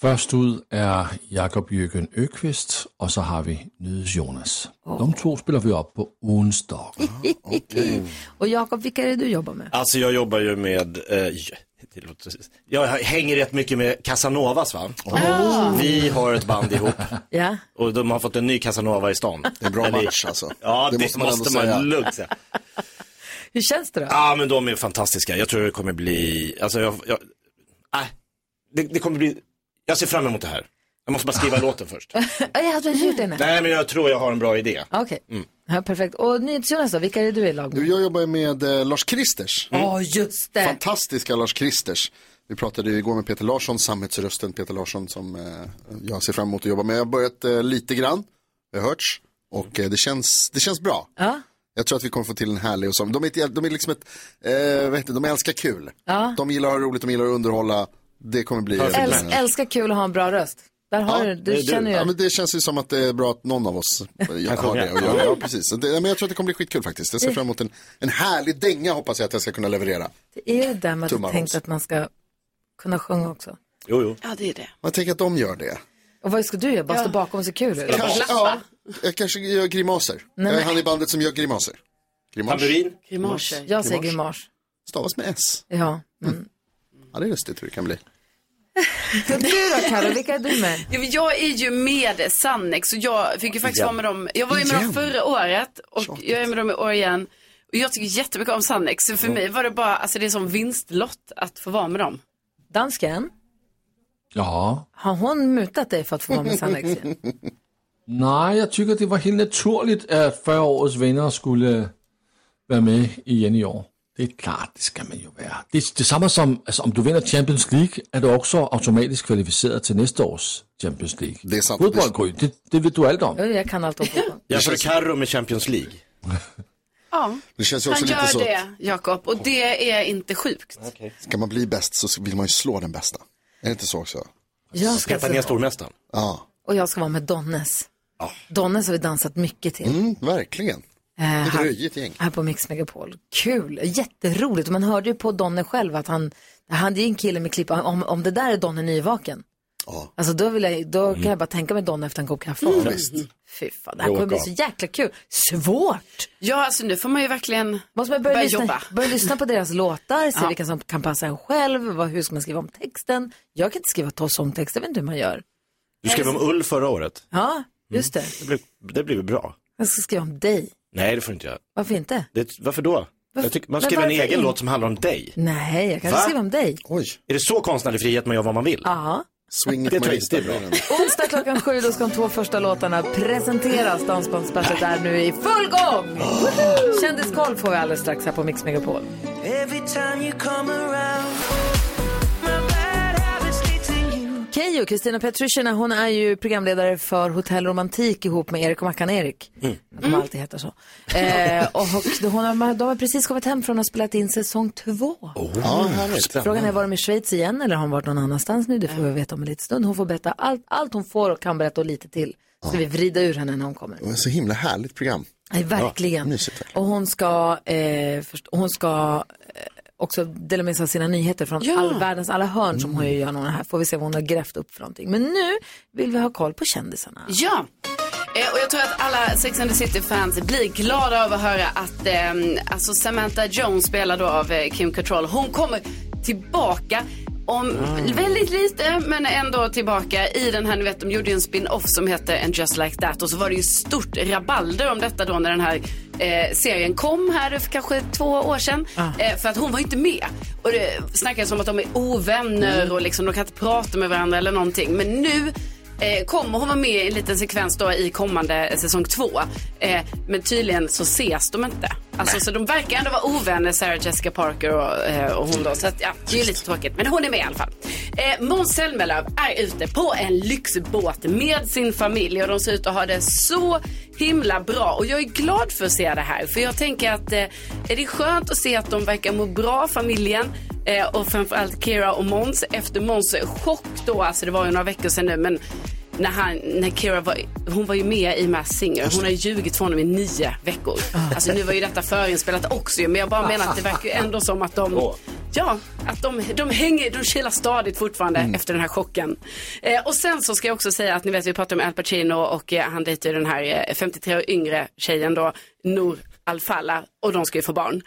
S6: Først ud er Jakob Jørgen Økvist, og så har vi Nydes Jonas. De to spiller vi op på onsdag.
S2: Och Jakob, vilka är det du jobbar med?
S3: Alltså jag jobbar ju med, eh, det låter, jag hänger rätt mycket med Casanovas va?
S8: Ah.
S2: Oh.
S3: Vi har ett band ihop
S2: Ja.
S3: och de har fått en ny Casanova i stan. Det är
S8: bra match, alltså.
S3: Ja,
S8: Det
S3: det,
S8: måste
S3: måste
S8: man
S3: man,
S8: ändå säga.
S3: lugnt säga.
S2: Hur känns det då?
S3: Ja, men de är fantastiska. Jag tror det kommer bli, alltså jag, jag nej, det, det kommer bli, jag ser fram emot det här. Jag måste bara skriva låten först.
S2: Jag har inte gjort det än.
S3: Nej, men jag tror jag har en bra idé.
S2: Okej,
S3: Mm.
S2: ja, perfekt. Och NyhetsJonas då, vilka är det du är i lag med?
S8: Du, jag jobbar ju med eh, Lars Kristers.
S2: Ja, just det.
S8: Fantastiska Lars Kristers. Vi pratade ju igår med Peter Larsson, Sammetsrösten Peter Larsson som eh, jag ser fram emot att jobba med. Jag har börjat eh, lite grann, det har hörts och eh, det, känns, det känns bra.
S2: Ja.
S8: Jag tror att vi kommer få till en härlig och så. De är, ett, jävla- de är liksom ett, eh, vad heter det, de älskar kul.
S2: Ja.
S8: De gillar att ha roligt, de gillar att underhålla. Det kommer bli...
S2: Äls- älskar kul att ha en bra röst. Där har du, du känner ju.
S8: Ja, men det känns ju som att det är bra att någon av oss eh, har det. Och jag, ja, precis. Så Det, men jag tror att det kommer bli skitkul faktiskt. Jag ser fram emot en, en härlig dänga hoppas jag att jag ska kunna leverera.
S2: Är det där man
S8: Tummar
S2: tänkt
S8: också.
S2: att man ska kunna sjunga också?
S3: Jo, jo.
S4: Ja, det är det.
S8: Jag tänker att de gör det.
S2: Och vad ska du göra? Bara stå bakom och se kul ut?
S8: Kanske, ja, jag kanske gör grimaser.
S2: Nej,
S8: jag är
S2: men-
S8: han i bandet som gör grimaser. Grimas.
S3: Tamburin?
S2: Grimaser. Jag säger grimas.
S8: Stavas med S.
S2: Ja.
S8: Ja, det är lustigt hur det kan bli.
S2: Så du då Carro, vilka är du med?
S4: Ja, men Jag är ju med Sannex och jag fick ju faktiskt
S2: Igen.
S4: vara med dem. Jag var ju med
S2: Igen.
S4: dem förra året och jag är med dem i år igen. Och jag tycker jättemycket om Sannex. Så för
S2: Mm.
S4: mig var det bara, alltså det är som vinstlott att få vara med dem.
S2: Dansken,
S6: Ja.
S2: har hon mutat dig för att få vara med Sannex? igen?
S6: Nej, jeg tycker det var helt naturligt, at 40 års venner skulle være med igen i år. Det er klart, det skal man jo være. Det er det samme som, altså om du vinder Champions League, er du også automatisk kvalificeret till nästa års Champions League. Det er
S8: sant.
S6: Fodbold, Gry, det, det ved du alt om.
S2: Jo, jag kan allt om fotboll.
S3: Jag körde Carro med Champions League.
S4: Ja.
S8: Det känns ju
S4: Han
S8: också lite
S4: gör
S8: så.
S4: det, Jakob, och det är inte sjukt.
S8: Ska man bli bäst så vill man ju slå den bästa. Är det inte så också?
S2: Jag ska Peta ner alltså-
S3: stormästaren.
S8: Ja.
S2: Och jag ska vara med Donnes. Donnes har vi dansat mycket till.
S8: Mm, verkligen.
S2: Eh,
S8: Ett röjigt gäng.
S2: Här på Mix Megapol. Kul, jätteroligt. Man hörde ju på Donne själv att han, han det är en kille med klipp, om, om det där är Donne nyvaken. Alltså då, vill jag, då kan jag bara tänka mig Donne efter en kopp kaffe.
S4: Mm.
S2: Och-
S4: Visst.
S2: Fy fan, det här kommer bli så jäkla kul. Svårt!
S4: Ja, alltså nu får man ju verkligen
S2: Måste man börja,
S4: börja
S2: lyssna,
S4: jobba.
S2: börja lyssna på deras låtar, se
S4: Ja.
S2: vilka som kan passa en själv, vad, hur ska man skriva om texten. Jag kan inte skriva to- sångtext, jag vet inte hur man gör.
S3: Du skrev om ull förra året.
S4: Mm.
S2: Ja, just det.
S3: Det blev, det blev bra.
S2: Jag ska skriva om dig.
S3: Nej, det får du inte göra.
S2: Varför inte?
S3: Det, varför då? Jag tycker, man
S2: men
S3: skriver en
S2: varför
S3: egen
S2: inte?
S3: låt som handlar om dig.
S2: Nej, jag kan
S3: Va?
S2: inte skriva om dig.
S8: Oj.
S3: Är det så konstnärlig frihet man gör vad man vill?
S2: Ja.
S8: Swing
S3: det tror jag inte är bra.
S2: Onsdag klockan sju, då ska de två första låtarna presenteras. Dansbandsbattet är nu i full gång! Woho! Kändiskoll får vi alldeles strax här på Mix Megapol.
S7: Every time you come around, my bad habits lead to you.
S2: Keyyo, Kristina Petrushina, hon är ju programledare för Hotell Romantik ihop med Erik och Mackan Erik. Han kommer alltid heta så. Eh, och hon har, de har precis kommit hem från att ha spelat in säsong två.
S8: Ja, härligt.
S2: Frågan är, var de i Schweiz igen eller har hon varit någon annanstans nu? Det får vi veta om en liten stund. Hon får berätta allt, allt hon får och kan berätta och lite till. Ska vi vrida ur henne när hon kommer.
S8: Det var ett så himla härligt program.
S2: Nej, verkligen.
S8: Ja, mysigt.
S2: Och hon ska, eh, först, hon ska eh, också dela med sig av sina nyheter från all världens alla hörn som hon ju gör någon här. Får vi se vad hon har grävt upp för någonting. Men nu vill vi ha koll på kändisarna.
S4: Ja. Eh, Och jag tror att alla Sex and the City-fans blir glada av att höra att eh, alltså Samantha Jones, spelad då av eh, Kim Cattrall, hon kommer tillbaka om
S7: Mm.
S4: väldigt lite, men ändå tillbaka i den här, ni vet, de gjorde ju en spin-off som hette And Just Like That och så var det ju stort rabalder om detta då när den här eh, serien kom här för kanske två år sedan. Eh, för att hon var ju inte med. Och det snackades om att de är ovänner och liksom de kan inte prata med varandra eller någonting. Men nu eh, kommer hon vara med i en liten sekvens då i kommande säsong två. Eh, men tydligen så ses de inte. Alltså, så de verkar ändå vara ovänner, Sarah Jessica Parker och, eh, och hon då. Så att, ja, det är ju lite tråkigt. Men hon är med i alla fall. Eh, Måns Zelmerlöw är ute på en lyxbåt med sin familj och de ser ut att ha det så himla bra. Och jag är glad för att se det här. För jag tänker att eh, det är skönt att se att de verkar må bra, familjen. Eh, och framförallt Kira och Måns efter Måns chock då, alltså det var ju några veckor sedan nu, men när, han, när Kira var, hon var ju med i Mass Singer, hon har ju ljugit för honom i nio veckor. Alltså nu var ju detta förinspelat också ju, men jag bara menar att det verkar ju ändå som att de, ja, att de, de hänger, de kilar stadigt fortfarande efter den här chocken. Eh, och sen så ska jag också säga att ni vet, vi pratade om Al Pacino och eh, han dejtar ju den här eh, 53 år yngre tjejen då, Nour Al-Fallah, och de ska ju få barn.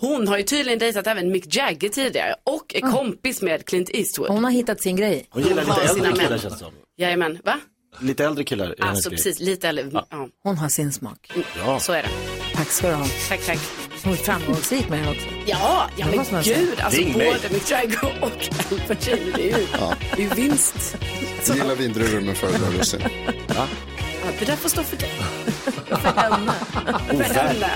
S4: Hon har ju tydligen dejtat även Mick Jagger tidigare och är kompis med Clint Eastwood.
S2: Hon har hittat sin grej.
S3: Hon gillar
S4: Hon
S3: lite
S4: har
S3: äldre
S4: sina
S3: killar
S4: män.
S3: känns det som.
S4: Jajamän, va?
S3: Lite äldre killar. är hennes
S4: Alltså
S3: grej.
S4: precis, lite äldre. Ja.
S2: Hon har sin smak.
S3: Ja.
S4: Så är det.
S2: Tack ska du ha.
S4: Tack, tack.
S2: Hon är framgångsrik med det också.
S4: Ja, ja
S2: Det
S4: men
S2: måste man säga.
S4: gud. Alltså
S2: Ring mig.
S4: både Mick Jagger och Al Pacino, det är ju, det är ju vinst.
S8: Jag gillar vindruvor men föredrar russin. Ja.
S4: Ja, det där får stå för dig. för henne.
S3: Oh,
S4: för
S8: Overkligt.
S4: henne.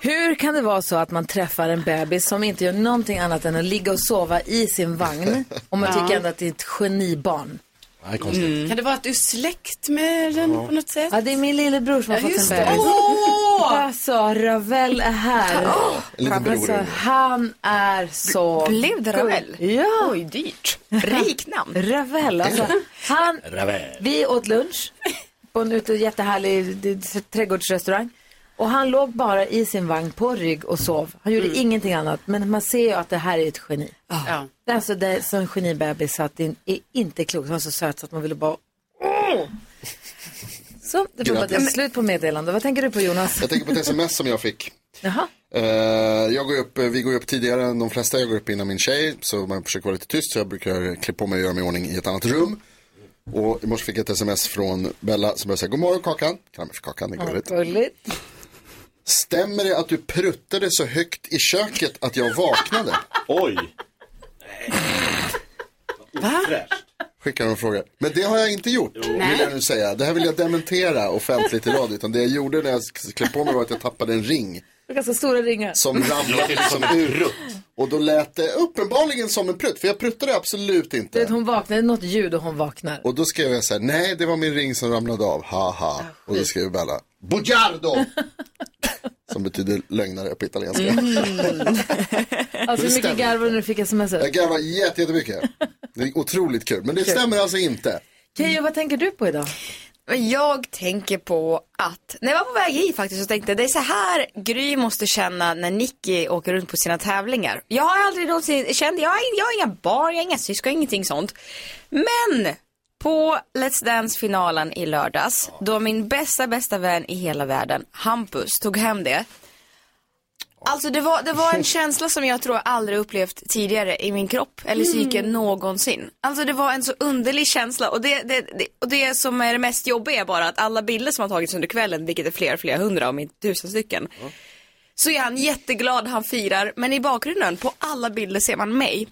S2: Hur kan det vara så att man träffar en bebis som inte gör någonting annat än att ligga och sova i sin vagn och man
S4: Ja.
S2: tycker ändå att det är ett genibarn?
S3: Nej,
S4: konstigt.
S13: Mm.
S4: Kan det vara att du är släkt med den på något sätt?
S2: Ja, det är min lillebror som har
S4: Ja,
S2: fått en
S4: just det.
S2: bebis.
S4: Åh!
S2: Alltså, Ravel är här.
S13: Oh,
S4: En liten bror.
S2: Alltså, han är så...
S13: Blev det Ravel?
S2: gullig. Ja.
S13: Oj, dyrt. Rik namn.
S2: Ravel, alltså. Han,
S3: Ravel.
S2: vi åt lunch på en ute, jättehärlig d- d- trädgårdsrestaurang. Och han låg bara i sin vagn på rygg och sov. Han
S13: Mm.
S2: gjorde ingenting annat. Men man ser ju att det här är ett geni.
S4: Ja.
S2: Det är alltså det är så en genibebis så att det är inte klokt. Han var så söt så att man ville bara...
S13: Mm.
S2: Åh! Så, det får vara
S8: Grattis.
S2: ett slut på meddelande. Vad tänker du på Jonas?
S8: Jag tänker på ett sms som jag fick.
S2: Jaha.
S8: Eh, jag går upp, eh, vi går upp tidigare än de flesta. Jag går upp innan min tjej. Så man försöker vara lite tyst. Så jag brukar klä på mig och göra mig i ordning i ett annat rum. Och i morse fick jag ett sms från Bella som började säga god morgon Kakan. Kramar för Kakan, det är gulligt.
S2: Gulligt.
S8: Stämmer det att du pruttade så högt i köket att jag vaknade?
S3: Oj.
S4: Va?
S8: Skickar de frågor. Men det har jag inte gjort, vill jag nu säga. Det här vill jag dementera offentligt i radio. Utan det jag gjorde när jag klev på mig var att jag tappade en ring
S2: Det är ganska stora ringar.
S8: som ramlade som ur. Och då lät det uppenbarligen som en prutt, för jag pruttade absolut
S2: Du
S8: inte.
S2: vet, hon vaknar, det är något ljud och hon vaknar.
S8: Och då skrev jag så här, nej det var min ring som ramlade av,
S13: Ah,
S8: haha. Och då skrev Bella, bugiardo! Som betyder lögnare på italienska.
S13: Mm.
S2: Alltså hur mycket
S8: Stämmer.
S2: garvade du när du fick smset?
S8: Jag garvar jätte, jättemycket. Det är otroligt kul, men det stämmer alltså inte.
S2: Keyyo, vad tänker du på idag?
S13: Men jag tänker på att, när jag var på väg hit faktiskt så tänkte jag, det är så här Gry måste känna när Nicky åker runt på sina tävlingar. Jag har aldrig någonsin känt, jag har, in- jag har inga barn, jag har inga syskon, ingenting sånt. Men på Let's Dance-finalen i lördags, då min bästa, bästa vän i hela världen, Hampus, tog hem det. Alltså det var, det var en känsla som jag tror jag aldrig upplevt tidigare i min kropp eller psyke någonsin. Alltså det var en så underlig känsla och det, det, det, och det som är det mest jobbiga är bara att alla bilder som har tagits under kvällen, vilket är flera, flera hundra om inte tusen stycken. Så är han jätteglad, han firar, men i bakgrunden på alla bilder ser man mig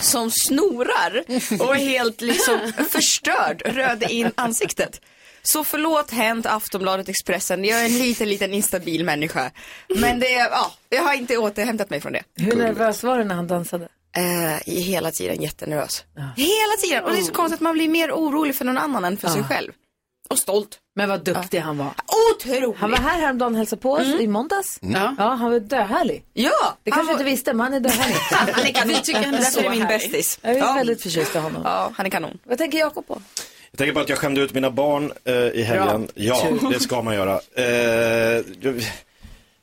S13: som snorar och är helt liksom förstörd, röd in ansiktet. Så förlåt Hänt, Aftonbladet, Expressen, jag är en liten, liten instabil människa. Men det, ja, jag har inte återhämtat mig från det.
S2: Hur nervös var du när han dansade?
S13: Eh, hela tiden jättenervös. Oh. Hela tiden, och det är så konstigt att man blir mer orolig för någon annan än för sig själv. Och stolt.
S2: Men vad duktig han var.
S13: Otroligt.
S2: Han var här häromdagen och hälsade på oss i måndags.
S13: Mm.
S2: Ja, han var döhärlig.
S13: Ja,
S2: Det kanske du inte visste, men han är döhärlig.
S13: Han är kanon. Därför är min bästis.
S2: Jag är
S13: Ja.
S2: väldigt förtjust i honom.
S13: Ja, han är kanon.
S2: Vad tänker Jakob på?
S3: Jag tänker på att jag skämde ut mina barn eh, i helgen.
S2: Bra.
S3: Ja,
S2: Tur.
S3: det ska man göra. Eh, jag-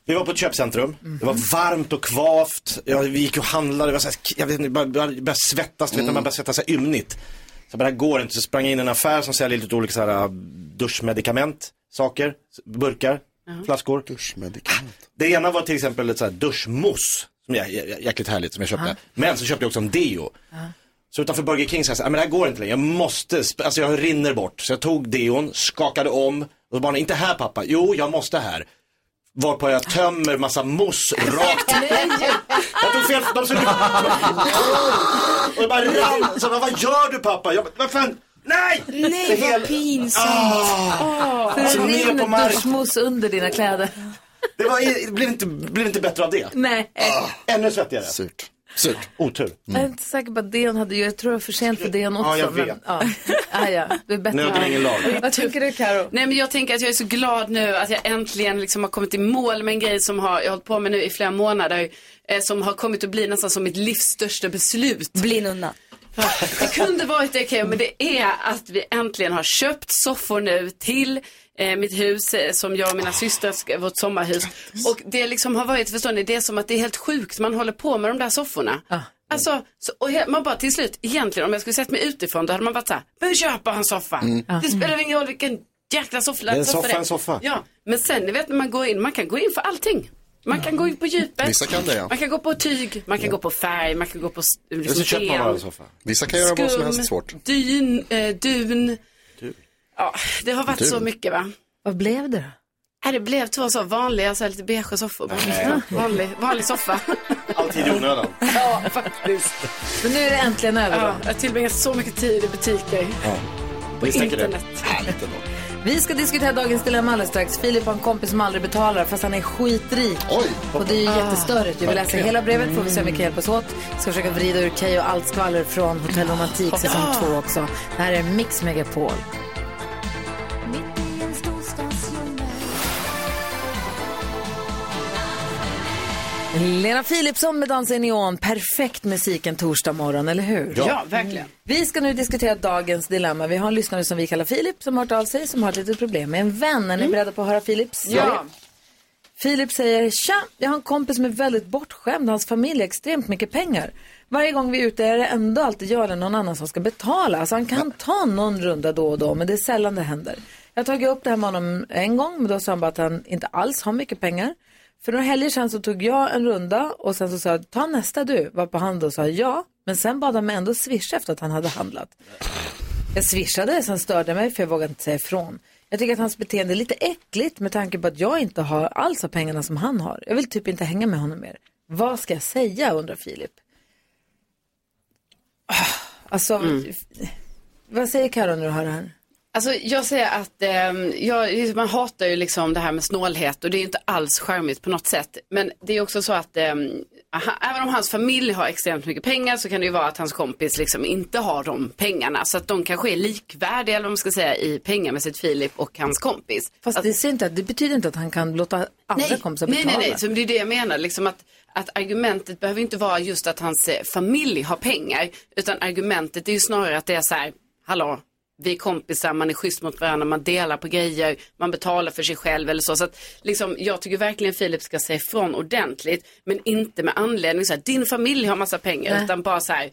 S3: vi var på ett köpcentrum. Det var varmt och kvavt. Jag, vi gick och handlade. Det var så här, jag vet inte, bara, bara, började svettas. Du vet när man börjar svettas så här ymnigt. Så bara, det här går inte. Så sprang jag in i en affär som säljer lite olika så här, äh, duschmedikament. Saker, burkar, flaskor.
S8: Duschmedikament.
S3: Det ena var till exempel ett så här duschmousse. Som är jä- jä- jäkligt härligt som jag köpte.
S14: Ja.
S3: Men så köpte jag också en deo. Så utanför Burger King så jag så här, "Ah, men det här går inte längre, jag måste, sp- alltså jag rinner bort. Så jag tog deon, skakade om och barnen, inte här pappa, jo jag måste här. Varpå jag tömmer massa mousse rakt. Jag tog fel, de såg Och jag bara rann, så de bara, vad gör du pappa? Jag bara, vad fan, nej!
S13: Nej,
S3: Det
S13: vad
S3: hela-
S13: pinsamt.
S3: Ah.
S2: Så
S3: Alltså,
S2: det
S3: ner på
S2: rinner
S3: marken.
S2: duschmos under dina kläder.
S3: Det, var, det blev, inte, blev inte bättre av det.
S2: Nej.
S3: Ännu svettigare.
S8: Surt. Surt.
S3: Otur.
S2: Jag är inte säker på att Dion hade gjort, jag tror det var för sent för Dion också.
S3: Ja, jag vet.
S2: Men, ja. Ah, ja. Du är bättre
S3: Nöden är ingen lag.
S2: Vad tänker du Karo?
S4: Nej men jag tänker att jag är så glad nu att jag äntligen liksom har kommit i mål med en grej som har, jag har hållit på med nu i flera månader. Eh, som har kommit att bli nästan som mitt livs största beslut.
S13: Bli nunna.
S4: Det kunde varit det Keyyo, men det är att vi äntligen har köpt soffor nu till eh, mitt hus eh, som jag och mina systrar, ska- vårt sommarhus. Och det liksom har varit, förstår ni, det är som att det är helt sjukt, man håller på med de där sofforna.
S3: Ah.
S4: Alltså, så, och he- man bara till slut, egentligen om jag skulle sett mig utifrån då hade man varit så här, behöver köpa en soffa.
S3: Mm.
S4: Det spelar ingen roll vilken jäkla soffa
S3: Det är en
S4: soffa
S3: soffa,
S4: det är."
S3: en soffa.
S4: Ja, men sen ni vet när man går in, man kan gå in för allting. Man kan gå in på djupet,
S8: Vissa kan det, ja.
S4: man kan gå på tyg, man kan gå på färg, man kan gå på s- liksom, ben.
S8: Vissa kan göra vad som helst svårt.
S4: Dyn, eh, dun. Ja, det har varit
S8: Dun.
S4: så mycket va?
S2: Vad blev det då?
S4: Nej, det blev två så vanliga, så här lite beige soffor. bara.
S3: Nej.
S4: Vanlig, vanlig soffa.
S3: Alltid i onödan.
S4: ja, faktiskt.
S2: Men nu är det äntligen över då.
S4: Ja, jag tillbringar så mycket tid i butiker.
S2: På
S3: Visst tänker du?
S2: internet.
S3: Härligt ändå.
S2: Vi ska diskutera dagens dilemma alldeles strax. Filip har en kompis som aldrig betalar fast han är skitrik.
S8: Oj.
S2: Och det är ju
S4: Ah.
S2: jättestörigt. Jag vill läsa
S13: verkligen.
S2: hela brevet får vi se om vi
S4: Mm.
S2: kan hjälpas åt. Jag ska försöka vrida ur Keyyo och allt skvaller från Hotell Romantik säsong
S13: Ja.
S4: Ah.
S2: två också. Det här är Mix Megapol. Lena Philipsson med Dansa i neon. Perfekt musik en torsdag morgon, eller hur?
S4: Ja, verkligen.
S2: Vi ska nu diskutera dagens dilemma. Vi har en lyssnare som vi kallar Filip som har hört av sig som har ett litet problem med en vän. Är ni beredda på att höra Filips?
S4: Mm. Ja.
S2: Filip säger, tja, jag har en kompis som är väldigt bortskämd. Hans familj har extremt mycket pengar. Varje gång vi är ute är det ändå alltid jag eller någon annan som ska betala. Alltså han kan ta någon runda då och då, men det är sällan det händer. Jag har tagit upp det här med honom en gång, men då sa han bara att han inte alls har mycket pengar. För några helger sedan så tog jag en runda och sen så sa jag, ta nästa du. Varpå han då sa ja, men sen bad han mig ändå swisha efter att han hade handlat. Jag swishade, sen störde jag mig för jag vågade inte säga ifrån. Jag tycker att hans beteende är lite äckligt med tanke på att jag inte har alls har pengarna som han har. Jag vill typ inte hänga med honom mer. Vad ska jag Mm. säga, undrar Filip. Ah, Alltså, Vad säger Karo när du hör det här?
S4: Alltså jag säger att eh, jag, man hatar ju liksom det här med snålhet och det är inte alls charmigt på något sätt. Men det är också så att eh, aha- även om hans familj har extremt mycket pengar så kan det ju vara att hans kompis liksom inte har de pengarna. Så att de kanske är likvärdiga eller vad man ska säga i pengamässigt Filip och hans kompis.
S2: Fast det, ser inte, att- det betyder inte att han kan låta andra kompisar
S4: nej,
S2: betala.
S4: nej, nej, så det är det jag menar. Liksom att, att argumentet behöver inte vara just att hans eh, familj har pengar, utan argumentet är ju snarare att det är så här, hallå, vi är kompisar, man är schysst mot varandra, man delar på grejer, man betalar för sig själv eller så. så att, liksom, jag tycker verkligen Filip ska säga ifrån ordentligt, men inte med anledning så här, din familj har massa pengar,
S2: Nej.
S4: utan bara så här,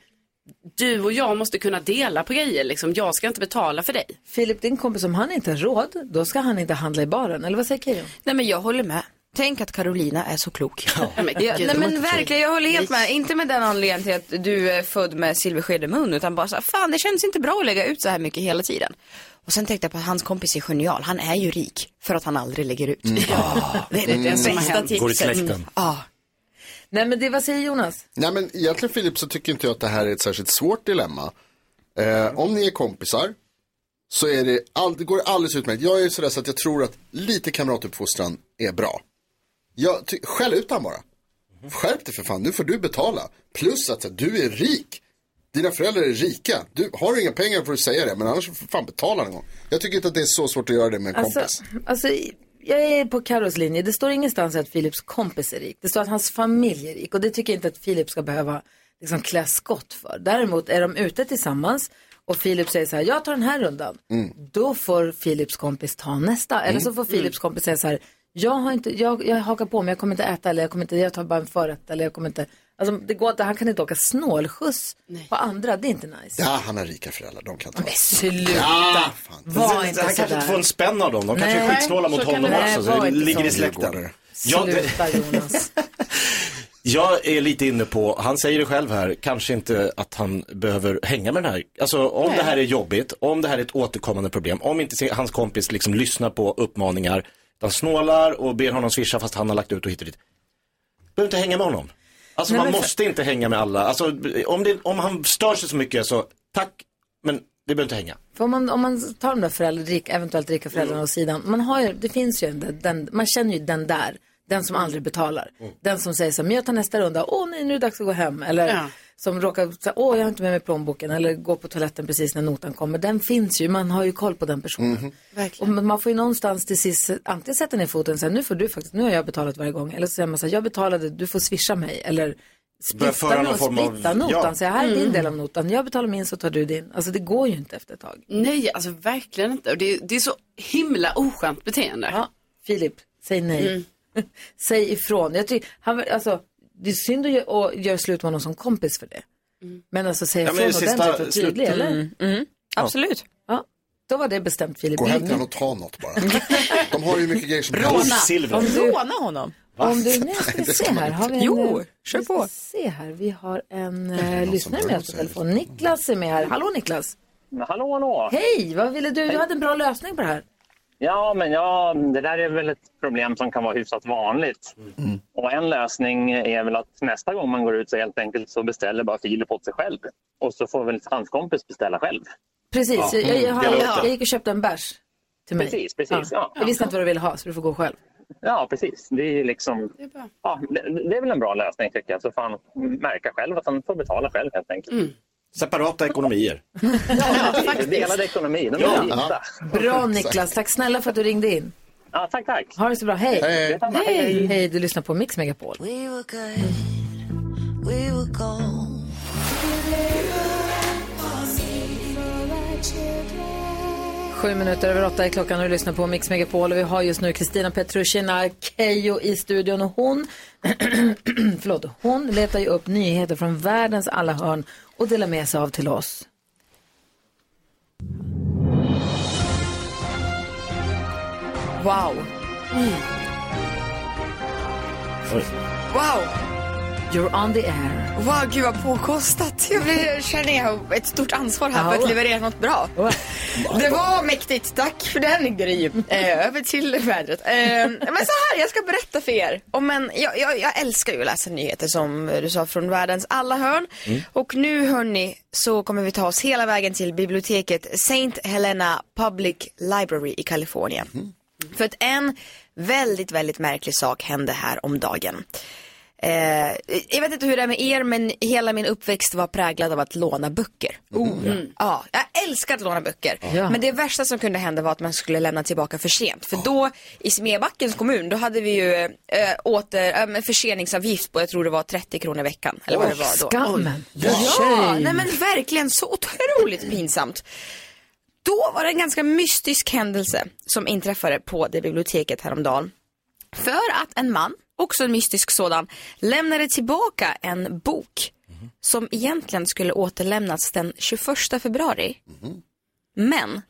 S4: du och jag måste kunna dela på grejer, liksom. jag ska inte betala för dig.
S2: Filip, din kompis, om han inte har råd, då ska han inte handla i baren. Eller vad säger Keyyo?
S13: Nej men jag håller med. Tänk att Carolina är så klok.
S4: Ja, men,
S13: Ja, nej men verkligen, jag håller helt
S4: Nej.
S13: med. Inte med den anledningen till att du är född med silversked i mun utan bara så här, fan det känns inte bra att lägga ut så här mycket hela tiden. Och sen tänkte jag på att hans kompis är genial, han är ju rik för att han aldrig lägger ut. Det är det
S8: Mm.
S13: bästa tipset.
S8: Går i släkten. Mm.
S2: Nej, men det, vad säger Jonas?
S8: Nej men egentligen Filip så tycker inte jag att det här är ett särskilt svårt dilemma. Eh, om ni är kompisar så är det all, det går det alldeles utmärkt. Jag är ju sådär så att jag tror att lite kamratuppfostran är bra. Jag ty- skäll ut han bara. Skärp dig för fan, nu får du betala. Plus att så här, du är rik. Dina föräldrar är rika. Du, har du inga pengar får du säga det, men annars får du fan betala någon gång. Jag tycker inte att det är så svårt att göra det med en
S2: Alltså,
S8: kompis.
S2: alltså, jag är på Karos linje. Det står ingenstans att Filips kompis är rik. Det står att hans familj är rik. Och det tycker jag inte att Filip ska behöva liksom, klä skott för. Däremot är de ute tillsammans och Filip säger så här, jag tar den här rundan. Då får Filips kompis ta nästa. Eller så får
S14: Mm.
S2: Filips kompis säga så här, jag, har inte, jag, jag hakar på men jag kommer inte äta eller jag, kommer inte, jag tar bara en förrätt eller jag kommer inte. Alltså, det går inte, han kan inte åka snålskjuts på andra, det är inte nice.
S8: Ja, han har rika föräldrar, de kan ta
S2: Men sluta!
S8: Ja, fan.
S2: Var inte
S3: Han kanske
S2: sådär.
S3: inte får en spänn av dem. De kanske
S2: Nej,
S3: är skitsnåla mot
S2: så kan
S3: honom
S2: det-
S3: också.
S2: Nej,
S3: Så
S2: var
S3: det
S2: inte
S3: ligger i
S2: sån.
S3: släkten. Jag,
S2: Sluta Jonas.
S3: jag är lite inne på, han säger det själv här, kanske inte att han behöver hänga med den här. Alltså om
S15: Nej.
S3: det här är jobbigt, om det här är ett återkommande problem, om inte se- hans kompis liksom lyssnar på uppmaningar, utan snålar och ber honom swisha fast han har lagt ut och hit och dit. Behöver inte hänga med honom. Alltså
S2: Nej,
S3: man
S2: men för-
S3: måste inte hänga med alla. Alltså om, det, om han stör sig så mycket så tack, men det behöver inte hänga.
S2: För om man, om man tar de där föräldrar, rik, eventuellt rika föräldrarna åt sidan, man, har ju, det finns ju en, där- den, man känner ju den där, den som aldrig betalar. Den som säger så här, men jag tar nästa runda, åh nej nu är det dags att gå hem. Eller
S4: Ja.
S2: som råkar säga, åh jag har inte med mig plånboken. Eller gå på toaletten precis när notan kommer. Den finns ju, man har ju koll på den personen. Och man får ju någonstans till sist, antingen sätta ner foten och säga, nu får du faktiskt, nu har jag betalat varje gång. Eller så säger man så här, jag betalade, du får swisha mig. Eller
S3: Börja
S2: splitta,
S3: föra någon
S2: no-
S3: form av-
S2: splitta notan,
S3: ja.
S2: säga här är din
S4: Mm.
S2: del av notan, jag betalar min så tar du din. Alltså det går ju inte efter ett tag.
S4: Nej, alltså verkligen inte. Och Det, det är så himla oskönt beteende.
S2: Ja, Filip, säg nej.
S4: Mm.
S2: säg ifrån. Jag tycker, han, alltså, det är synd att göra gör slut med honom som kompis för det. Men alltså säg
S13: Ja, men
S2: ifrån
S13: det sista-
S2: ordentligt och tydligt,
S13: slut-
S2: eller?
S13: Mm, Absolut.
S2: Ja, då var det bestämt Filip.
S8: Gå hem till
S2: Ingen-
S8: honom och ta något bara. De har ju mycket grejer som
S13: Råna, råna honom.
S2: Om du, nej, ska vi se här. Har vi en,
S13: Jo,
S2: eh,
S13: kör
S2: vi ska
S13: på.
S2: se här. Vi har en
S13: Det är någon
S2: eh,
S13: som
S2: lyssnare med oss på
S13: rör sig.
S2: telefon. Niklas är med här. Hallå Niklas!
S16: Hallå, hallå!
S2: Hej, vad ville du? Du hade en bra lösning på det här.
S16: Ja, men ja, det där är väl ett problem som kan vara hyfsat vanligt.
S4: Mm.
S16: Och en lösning är väl att nästa gång man går ut så helt enkelt så beställer bara Filip åt sig själv. Och så får väl hans kompis beställa själv.
S2: Precis,
S16: Ja.
S2: jag, jag,
S16: Mm,
S2: jag,
S16: det
S2: jag,
S16: låter.
S2: jag gick och köpte en bärs till mig.
S16: Precis, precis, ja.
S2: Jag visste inte vad du ville ha, så du får gå själv.
S16: Ja, precis. Det är ju liksom...
S4: Det är, bra.
S16: Ja, det, det är väl en bra lösning tycker jag. Så får han märka själv att han får betala själv helt enkelt.
S4: Mm.
S3: Separata ekonomier.
S16: Delad ekonomi, de är
S3: Ja.
S16: gifta.
S2: Bra Niklas, tack snälla för att du ringde in.
S16: Ja, tack, tack.
S2: Ha det så bra, hej.
S8: Eh,
S16: Hej. Detsamma, hej,
S2: Hej,
S16: hej.
S2: hej du lyssnar på Mix Megapol.
S7: We were good, we were gold.
S2: Sju minuter över åtta är klockan och du lyssnar på Mix Megapol och vi har just nu Kristina Petrushina Keijo i studion och hon, förlåt, hon letar ju upp nyheter från världens alla hörn och delar med sig av till oss.
S13: Wow. Wow.
S2: You're on the air.
S13: Wow, gud vad påkostat. Jag blir, känner jag har ett stort ansvar här för att leverera något bra. Det var mäktigt. Tack för den Gry. Eh, över till vädret. Eh, men så här, jag ska berätta för er. Om en, jag, jag, jag älskar ju att läsa nyheter som du sa från världens alla hörn.
S7: Mm.
S13: Och nu hörni så kommer vi ta oss hela vägen till biblioteket St. Helena Public Library i Kalifornien. För att en väldigt, väldigt märklig sak hände här om dagen. Eh, jag vet inte hur det är med er men hela min uppväxt var präglad av att låna böcker. Mm. Ja, jag älskar att låna böcker.
S2: Oh, Ja.
S13: Men det värsta som kunde hända var att man skulle lämna tillbaka för sent. För då i Smedbackens kommun då hade vi ju eh, åter, eh, men förseningsavgift på jag tror det var 30 kronor i veckan. Eller vad det var då.
S2: Skammen.
S13: Ja, Ah, nej men verkligen så otroligt pinsamt. Då var det en ganska mystisk händelse som inträffade på det biblioteket häromdagen. För att en man, också en mystisk sådan, lämnade tillbaka en bok som egentligen skulle återlämnas den 21 februari. Men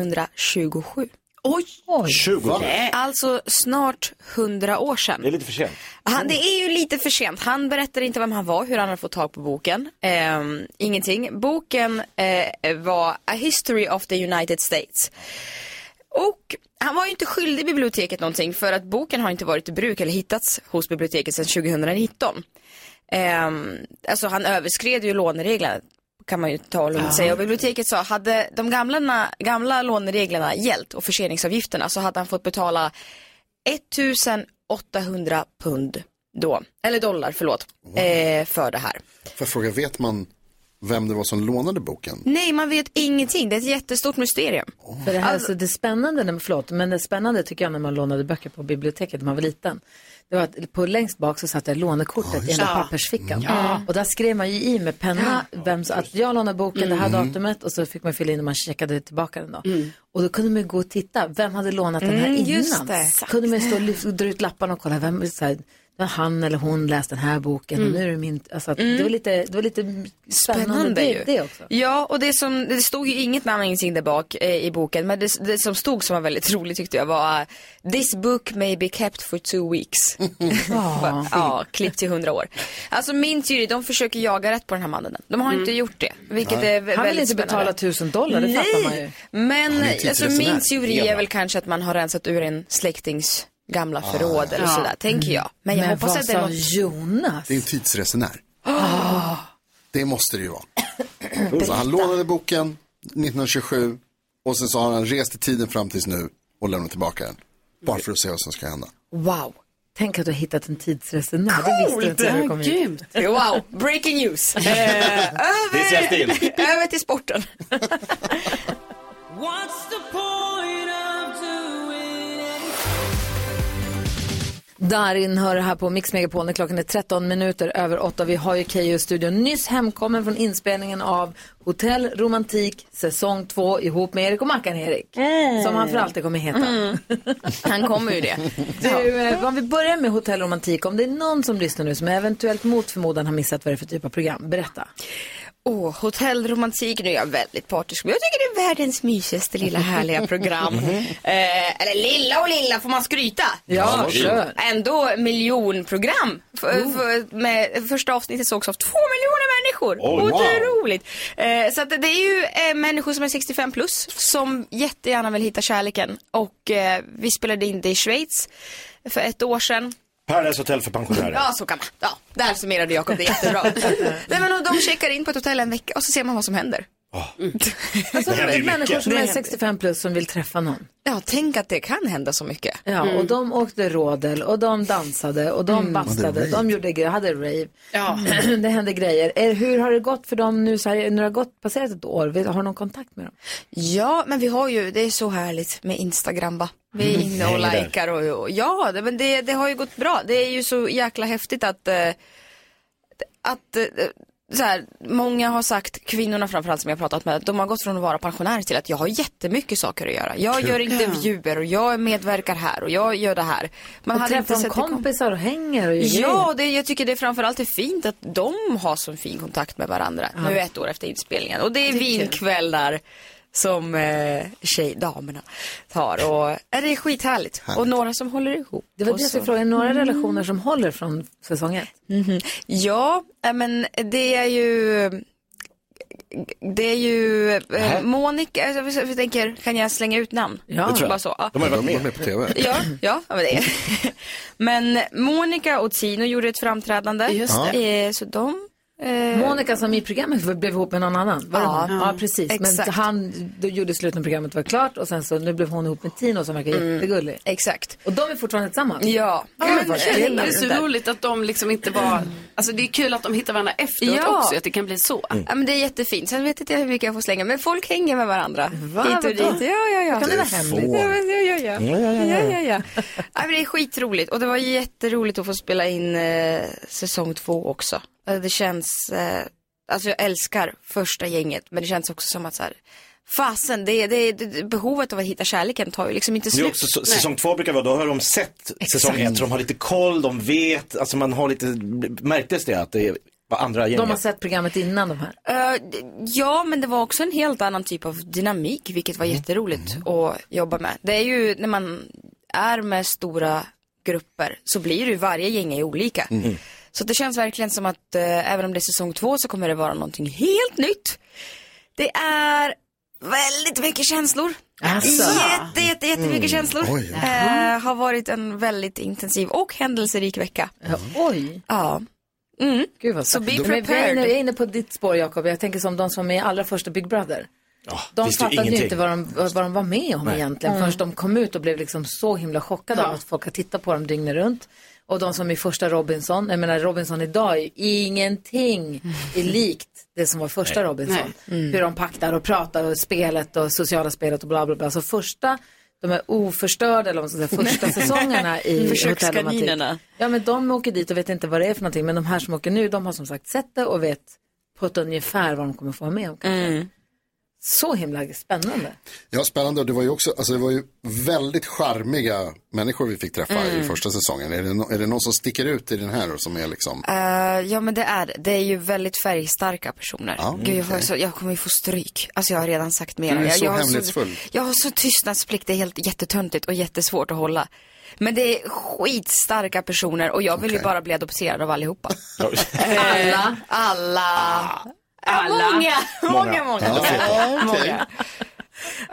S13: 1927. Oj! Oj.
S3: 20.
S13: Alltså snart 100 år sedan.
S3: Det är lite för sent.
S13: Han, det är ju lite för sent. Han berättade inte vem han var, hur han hade fått tag på boken. Ehm, ingenting. Boken eh, var A History of the United States. Och han var ju inte skyldig biblioteket någonting för att boken har inte varit i bruk eller hittats hos biblioteket sedan 2019. Ehm, alltså han överskred ju lånereglerna kan man ju ta och lugnt säga. Och biblioteket sa, hade de gamla, gamla lånereglerna gällt och förseningsavgifterna så hade han fått betala 1800 pund då, eller dollar förlåt, eh, för det här.
S8: Får jag fråga, vet man vem det var som lånade boken?
S13: Nej, man vet ingenting. Det är ett jättestort mysterium.
S2: För det, här, alltså, det spännande, när, förlåt, men det spännande tycker jag när man lånade böcker på biblioteket när man var liten. Det var att på längst bak så satt det lånekortet i den där
S13: Ja.
S2: pappersfickan.
S13: Ja. Mm.
S2: Och där skrev man ju i med penna, vem, så att jag lånade boken det här
S13: Mm.
S2: datumet och så fick man fylla in och man checkade tillbaka den då. Och då kunde man ju gå och titta, vem hade lånat den här
S13: Mm,
S2: innan?
S13: just det. Exakt.
S2: Kunde man ju stå och lyfta- och dra ut lapparna och kolla, vem, så här, det var han eller hon läste den här boken
S13: Mm.
S2: och nu är det min. Alltså, att
S13: Mm.
S2: det, var lite, det var lite spännande,
S13: Spännande
S2: det,
S13: ju.
S2: det också.
S13: Ja, och det som, det stod ju inget namn och ingenting där bak eh, i boken, men det, det som stod som var väldigt roligt tyckte jag var eh, This book may be kept for two weeks.
S2: Ja.
S13: ja, klipp till hundra år. Alltså min teori, de försöker jaga rätt på den här mannen. De har inte gjort det, vilket
S2: Mm. Nej.
S13: är vä- väldigt
S2: Han vill inte betala
S13: spännande.
S2: 1000 dollar, det fattar man ju.
S13: Men
S2: Han är ju typ
S13: alltså,
S2: tidsresenär.
S13: min teori är
S2: Elak.
S13: väl kanske att man har rensat ur en släktings
S2: Ah,
S13: gamla förråd eller
S2: Ja.
S13: sådär, tänker jag. Men jag
S2: Men
S13: hoppas
S2: vad
S13: att det är
S2: sa
S13: något...
S2: Jonas?
S8: Det är en tidsresenär.
S13: Ah.
S8: Det måste det ju vara. Så han lånade boken 1927 och sen så har han rest i tiden fram tills nu och lämnat tillbaka den. Bara för att se vad som ska hända.
S2: Wow. Tänk att du har hittat en tidsresenär. Det visste jag inte när du kom hit.
S13: Wow, breaking news. Eh,
S3: känns
S13: över,
S3: till.
S13: över till sporten.
S2: Darin hör här på Mix Megapol när klockan är 13 minuter över 8. Vi har ju Keyyo i studion nyss hemkommen från inspelningen av Hotell Romantik säsong 2 ihop med Erik och Mackan Erik. Som han för alltid kommer heta.
S13: Han kommer ju det.
S2: Mm. Du, eh, om vi börjar med Hotell Romantik, om det är någon som lyssnar nu som eventuellt mot förmodan har missat vad det är för typ av program, berätta.
S13: Åh, hotellromantik. Nu är jag väldigt partisk, men jag tycker det är världens mysigaste lilla härliga program. eh, eller lilla och lilla, får man skryta?
S2: Ja, Ja, kör.
S13: Ändå miljonprogram. F- f- med, första avsnittet sågs av två miljoner människor.
S7: Oj, wow.
S13: Otroligt. Eh, så att det är ju eh, människor som är 65 plus som jättegärna vill hitta kärleken. Och eh, vi spelade in det i Schweiz för ett år sedan.
S3: Paradise Hotel för pensionärer.
S13: Ja, så kan man. Ja, där summerade Jakob det jättebra. Nej, men och de checkar in på ett hotell en vecka och så ser man vad som händer.
S3: Ah.
S2: Alltså,
S13: Det händer ju
S2: människor
S13: mycket.
S2: som
S13: Det
S2: är
S13: händer.
S2: 65 plus som vill träffa någon.
S13: Ja, tänk att det kan hända så mycket.
S2: Ja,
S13: Mm.
S2: och de åkte rodel och de dansade och de bastade,
S13: Hade
S2: de
S13: rave.
S2: gjorde grejer, hade rave. det hände grejer. Eh, Hur har det gått för dem nu så här, när det har gått, passerat ett år? Vill- Har du någon kontakt med dem?
S13: Ja, men vi har ju, det är så härligt med Instagram va. Vi är inne och
S2: Mm. Hänger där.
S13: likar och, och ja, det, men det, det har ju gått bra. Det är ju så jäkla häftigt att, eh, att eh, så här, många har sagt, kvinnorna framförallt som jag har pratat med, de har gått från att vara pensionärer till att jag har jättemycket saker att göra. Jag
S2: Kul.
S13: gör
S2: Ja.
S13: intervjuer och jag medverkar här och jag gör det här. Man
S2: och
S13: hade inte
S2: träffar de
S13: sett det komma.
S2: kompisar och hänger och gör
S13: Ja, det, jag tycker det är framförallt är fint att de har så fin kontakt med varandra nu ett år efter inspelningen. Och det är vinkväll där som eh, tjejdamerna tar. Och, eh, det är skithärligt. Och några som håller ihop.
S2: Det var
S13: och
S2: det jag
S13: så-
S2: skulle fråga, är det några
S13: Mm.
S2: relationer som håller från säsong ett?
S13: Mhm. Ja, eh, men det är ju... Det är ju eh,
S2: Äh.
S13: Monica, alltså, jag jag tänker, kan jag slänga ut namn?
S8: Det tror jag.
S13: Bara så. ja.
S8: De har ju varit med. De var med på tv.
S13: Ja, ja, ja, men det är. Men Monica och Tino gjorde ett framträdande.
S2: Just det.
S13: Eh, Så de...
S2: Monica som i programmet blev ihop med någon annan, var det
S13: Eh. Ja,
S2: hon? ja precis.
S13: exakt.
S2: Men han då gjorde slut när programmet var klart och sen så nu blev hon ihop med Tino som verkar
S4: Mm,
S2: jättegullig.
S13: Exakt.
S2: Och de är fortfarande tillsammans?
S13: Ja.
S2: Gud, vad
S4: det
S2: kul.
S4: är så roligt att de liksom inte var, alltså det är kul att de hittar varandra efteråt
S13: Ja. Mm.
S4: också, att det kan bli så.
S13: Ja, men det är jättefint. Sen vet inte jag hur mycket jag får slänga, men folk hänger med varandra.
S4: Va?
S13: Hit och
S4: Vadå?
S13: dit. Ja, ja, ja.
S4: Kan det vara Det är hemligt? så.
S13: Ja, men, ja, ja, ja.
S4: Ja, ja, ja, ja.
S13: ja, ja, ja. Ja, men det är skitroligt och det var jätteroligt att få spela in eh, säsong två också. Eh, Det känns, eh, alltså jag älskar första gänget, men det känns också som att så här, fasen, det, det, det, behovet av att hitta kärleken tar ju liksom inte
S3: Det är
S13: slut.
S3: också, så,
S13: Nej.
S3: säsong två brukar vara, då har de sett säsong ett, så de har lite koll, de vet, alltså man har lite, märktes det att det var andra gänget?
S2: De har sett programmet innan de här.
S13: Eh, d- ja, men det var också en helt annan typ av dynamik, vilket
S7: Mm.
S13: var jätteroligt att jobba med. Det är ju när man är med stora grupper så blir det ju varje gäng är olika.
S7: Mm.
S13: Så det känns verkligen som att eh, även om det är säsong två så kommer det vara någonting helt nytt. Det är väldigt mycket känslor.
S7: Asså.
S2: Alltså.
S13: Jätte, jätte, jättemycket
S7: Mm.
S13: känslor.
S7: Oj.
S13: Eh, har varit en väldigt intensiv och händelserik vecka.
S2: Oj.
S13: Ja. Mm.
S2: Gud vad
S13: Så be
S2: Men jag är
S13: prepared.
S2: inne- Jag är inne på ditt spår Jakob, jag tänker som de som var med i allra första Big Brother. De
S7: visste ju
S2: fattade ju
S7: ingenting.
S2: inte vad de, vad vad de var med om
S7: Nej.
S2: egentligen
S7: Mm.
S2: förrän de kom ut och blev liksom så himla chockade av att folk har tittat på dem dygnet runt. Och de som i första Robinson, jag menar Robinson idag, är ju ingenting är likt det som var första
S7: Nej.
S2: Robinson.
S7: Nej. Mm.
S2: Hur de paktar och pratar och spelet och sociala spelet och bla bla bla. Så första, de är oförstörda eller vad man ska säga, första säsongerna i Hotell Romantik.
S13: Försökskaninerna.
S2: Ja, men de åker dit och vet inte vad det är för någonting. Men de här som åker nu, de har som sagt sett det och vet på ett ungefär vad de kommer få vara med om. kanske. Så himla spännande.
S8: Ja, spännande. Och Det var ju också, alltså det var ju väldigt charmiga människor vi fick träffa
S13: Mm.
S8: i första säsongen. Är det, no- är det någon som sticker ut i den här och som är liksom,
S13: Eh, ja men det är det. Det är ju väldigt färgstarka personer.
S8: Ja,
S13: Gud, jag, får
S8: okej.
S13: så, jag kommer ju få stryk. Alltså jag har redan sagt mer.
S8: Du är
S13: jag,
S8: så
S13: jag har
S8: hemlighetsfull.
S13: jag har så tystnadsplikt. Det är helt jättetöntigt och jättesvårt att hålla. Men det är skitstarka personer och jag vill ju bara bli adopterad av allihopa. alla. Alla. Ja, många. Många, många.
S7: Ja, okej.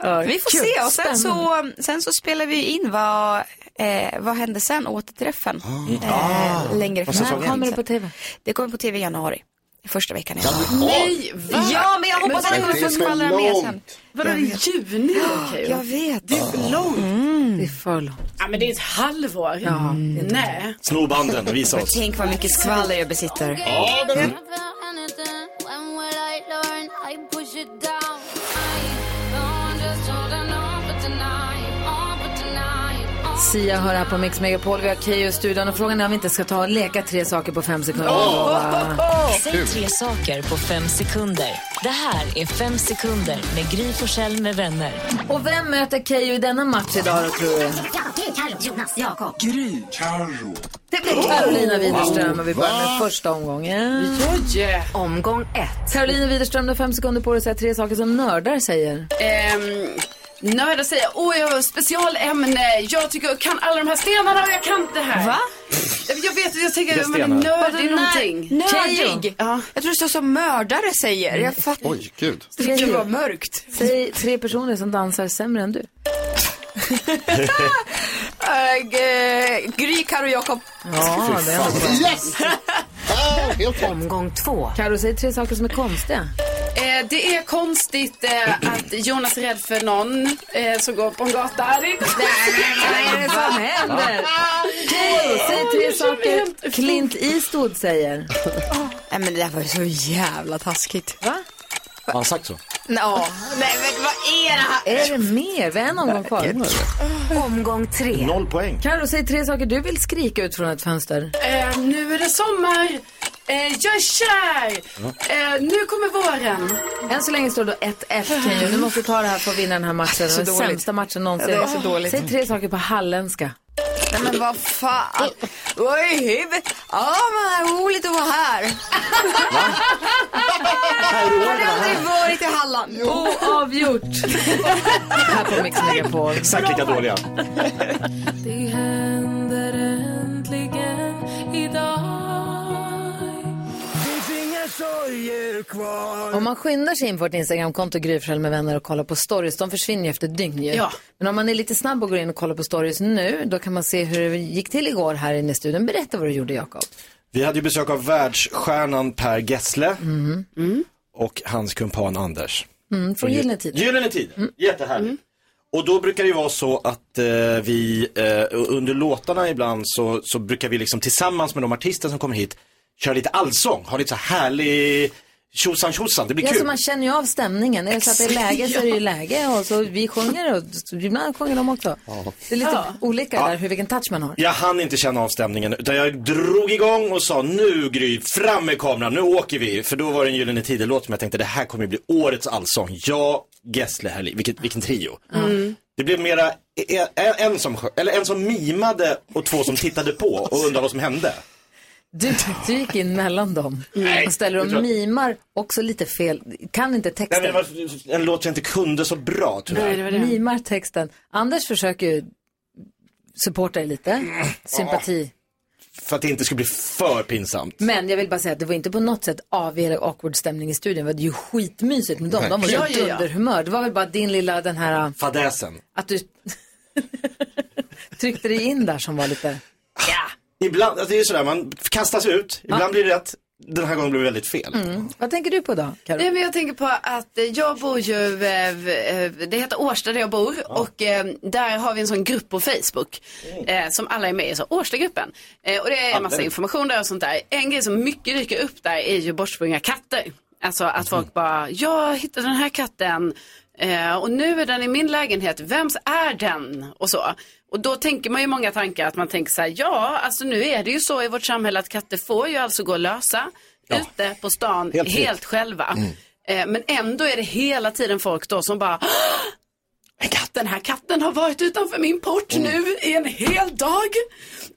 S13: många. Vi får se och sen så, sen så spelar vi ju in vad, eh, vad hände sen, återträffen.
S8: Ah.
S13: Eh, längre
S2: Vad
S13: fram.
S2: säsong När kommer ett? det på
S13: tv? Det kommer på tv i januari. Första veckan i januari.
S4: Nej, va?
S13: Ja, men jag hoppas att det
S4: Men
S13: kommer
S4: det är så
S13: förfallra med sen.
S4: långt. Vadå, i juni? Okej.
S13: Jag vet.
S4: Det är för långt.
S2: Det är för långt.
S4: Ja, men det är ett halvår.
S13: Ja.
S4: Nej.
S3: Snor banden, visa oss.
S13: Tänk vad mycket skvaller jag besitter.
S2: Sia hör här på Mix Megapol. Vi har Keyyo i studion och frågan är om vi inte ska ta och leka tre saker på fem sekunder.
S1: Säg tre saker på fem sekunder. Det här är Fem sekunder med Gry Forssell med vänner.
S2: Och vem möter Keyyo i denna match idag då tror du?
S1: Jonas, Jakob.
S2: Gry. Det blir Carolina Widerström och vi börjar med
S7: Va?
S2: första omgången.
S1: Omgång ett.
S2: Carolina Widerström, du har fem sekunder på dig att säga tre saker som nördar säger.
S4: Ehm, nördar säger, åh jag har specialämne, jag tycker jag kan alla de här stenarna och jag kan det här.
S13: Va?
S4: Jag vet, jag tänker
S13: Vilka
S4: att man är
S13: stenar?
S4: nördig i
S13: Vadå,
S4: någonting.
S13: nörd- nördig?
S4: Ja.
S13: Jag tror det står som mördare säger. Jag fattar.
S8: oj, gud.
S13: Gud vad mörkt.
S2: Säg tre personer som dansar sämre än du.
S13: Äh, g- Gry, Karo och Jakob.
S2: Ja, det är ändå bra.
S8: Yes!
S1: Omgång två.
S2: Karo, säg tre saker som är konstiga.
S4: Eh, det är konstigt eh, att Jonas är rädd för någon eh, som går på en gata. Det är konstigt.
S2: Vad är det som händer? Keyyo, säg tre saker Clint Eastwood säger.
S13: Nej men det där var ju så jävla taskigt.
S2: Va?
S3: Har han sagt så?
S13: Ja. Nej men vad är det här?
S2: Är det mer? Vi har en omgång kvar.
S1: Omgång tre.
S3: Noll poäng.
S2: Karo, säg tre saker du vill skrika ut från ett fönster.
S4: Eh, nu är det sommar. Eh, jag är kär. Eh, nu kommer våren.
S2: Än så länge står det 1-1 Keyyo. Du måste ta det här för att vinna den här matchen.
S4: Så
S2: den
S4: dåligt.
S2: sämsta matchen någonsin.
S4: Ja, det är så dåligt.
S2: Säg tre saker på halländska.
S13: Nej men vad fan. Oj, huvudet. Ja, men det är roligt att vara här. Har ni aldrig varit i Halland?
S2: Oavgjort. här på Mix Megapol.
S3: Exakt lika dåliga.
S7: Det händer äntligen idag Finns inga sorger
S3: Mm.
S7: kvar
S2: Om man skyndar sig in på vårt Instagramkonto Gry Forssell med vänner och kollar på stories, de försvinner ju efter ett dygn ju.
S4: Ja.
S2: Men om man är lite snabb och går in och kollar på stories nu, då kan man se hur det gick till igår här inne i studion. Berätta vad du gjorde Jakob.
S3: Vi hade ju besök av världsstjärnan Per Gessle och hans kumpan Anders.
S2: Mm, från Gyllene Tider. Mm.
S3: Gyllene Tider, jättehärligt. Och då brukar det ju vara så att eh, vi eh, under låtarna ibland så, så brukar vi liksom tillsammans med de artister som kommer hit köra lite allsång, ha lite så här härlig tjosan tjosan, det blir
S2: Ja,
S3: kul.
S2: så man känner ju av stämningen. Är det så att det är läge så är det ju läge. Och så vi sjunger och så ibland sjunger de också. Det är lite olika där hur, vilken touch man har.
S3: Jag hann inte känna av stämningen utan jag drog igång och sa nu Gry, fram med kameran, nu åker vi. För då var det en Gyllene Tider-låt som jag tänkte det här kommer ju bli årets allsång. Jag, Gessle, Herli, vilken, vilken trio. Det blev mera en, en, som, sjö- eller en som mimade och två som tittade på och undrade vad som hände.
S2: Du, du gick in mellan dem och ställer
S3: jag
S2: och
S3: tror-
S2: mimar också lite fel. Kan inte
S3: Nej,
S2: texten.
S3: men det var en låt jag inte kunde så bra tyvärr.
S2: Mimar texten. Anders försöker ju supporta dig lite. Sympati.
S3: För att det inte skulle bli för pinsamt.
S2: Men jag vill bara säga att det var inte på något sätt avig eller awkward stämning i studion. Det var ju skitmysigt med dem. De var ju
S3: Verkligen. Ja, ja, ja.
S2: dunderhumör. Det var väl bara din lilla den här
S3: Fadäsen.
S2: att du tryckte dig in där som var lite...
S3: Ibland, alltså det är ju sådär, man kastas ut, ibland blir det rätt, den här gången blev det väldigt fel.
S2: Mm. Vad tänker du på då, Karo?
S4: Nej, men jag tänker på att eh, jag bor ju, eh, eh, det heter Årsta där jag bor och eh, där har vi en sån grupp på Facebook eh, som alla är med i, så Årstagruppen. Eh, och det är en massa
S13: Alldeles.
S4: information där och sånt där. En grej som mycket dyker upp där är ju bortsprungna katter. Alltså
S7: Mm.
S4: att folk bara, jag hittade den här katten eh, och nu är den i min lägenhet, vems är den? Och så. Och då tänker man ju många tankar, att man tänker så här, ja, alltså nu är det ju så i vårt samhälle att katter får ju alltså gå lösa ute på stan
S7: Helt
S4: helt,
S7: fritt. Mm.
S4: själva. Eh, Men ändå är det hela tiden folk då som bara "Ah! En katt, Den här katten har varit utanför min port
S8: Mm.
S4: nu i en hel dag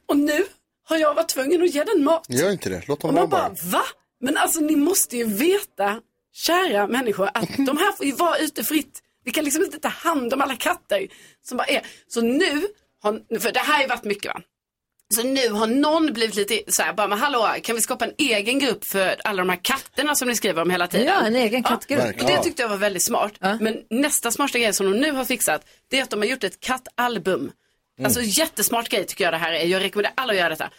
S4: och nu har jag varit tvungen att ge den mat.
S8: Gör inte det, låt
S4: Och
S8: dem vara
S4: man
S8: bara.
S4: bara, va? Men alltså ni måste ju veta, kära människor, att de här får ju vara ute fritt. Vi kan liksom inte ta hand om alla katter som bara är. Så nu, har, för det här har ju varit mycket va? Så nu har någon blivit lite så här, bara, men hallå, kan vi skapa en egen grupp för alla de här katterna som ni skriver om hela tiden?
S2: Ja, en egen kattgrupp.
S4: och det tyckte jag var väldigt smart. Men nästa smarta grej som de nu har fixat, det är att de har gjort ett kattalbum.
S7: Mm.
S4: Alltså jättesmart grej tycker jag det här är. Jag rekommenderar alla att göra detta.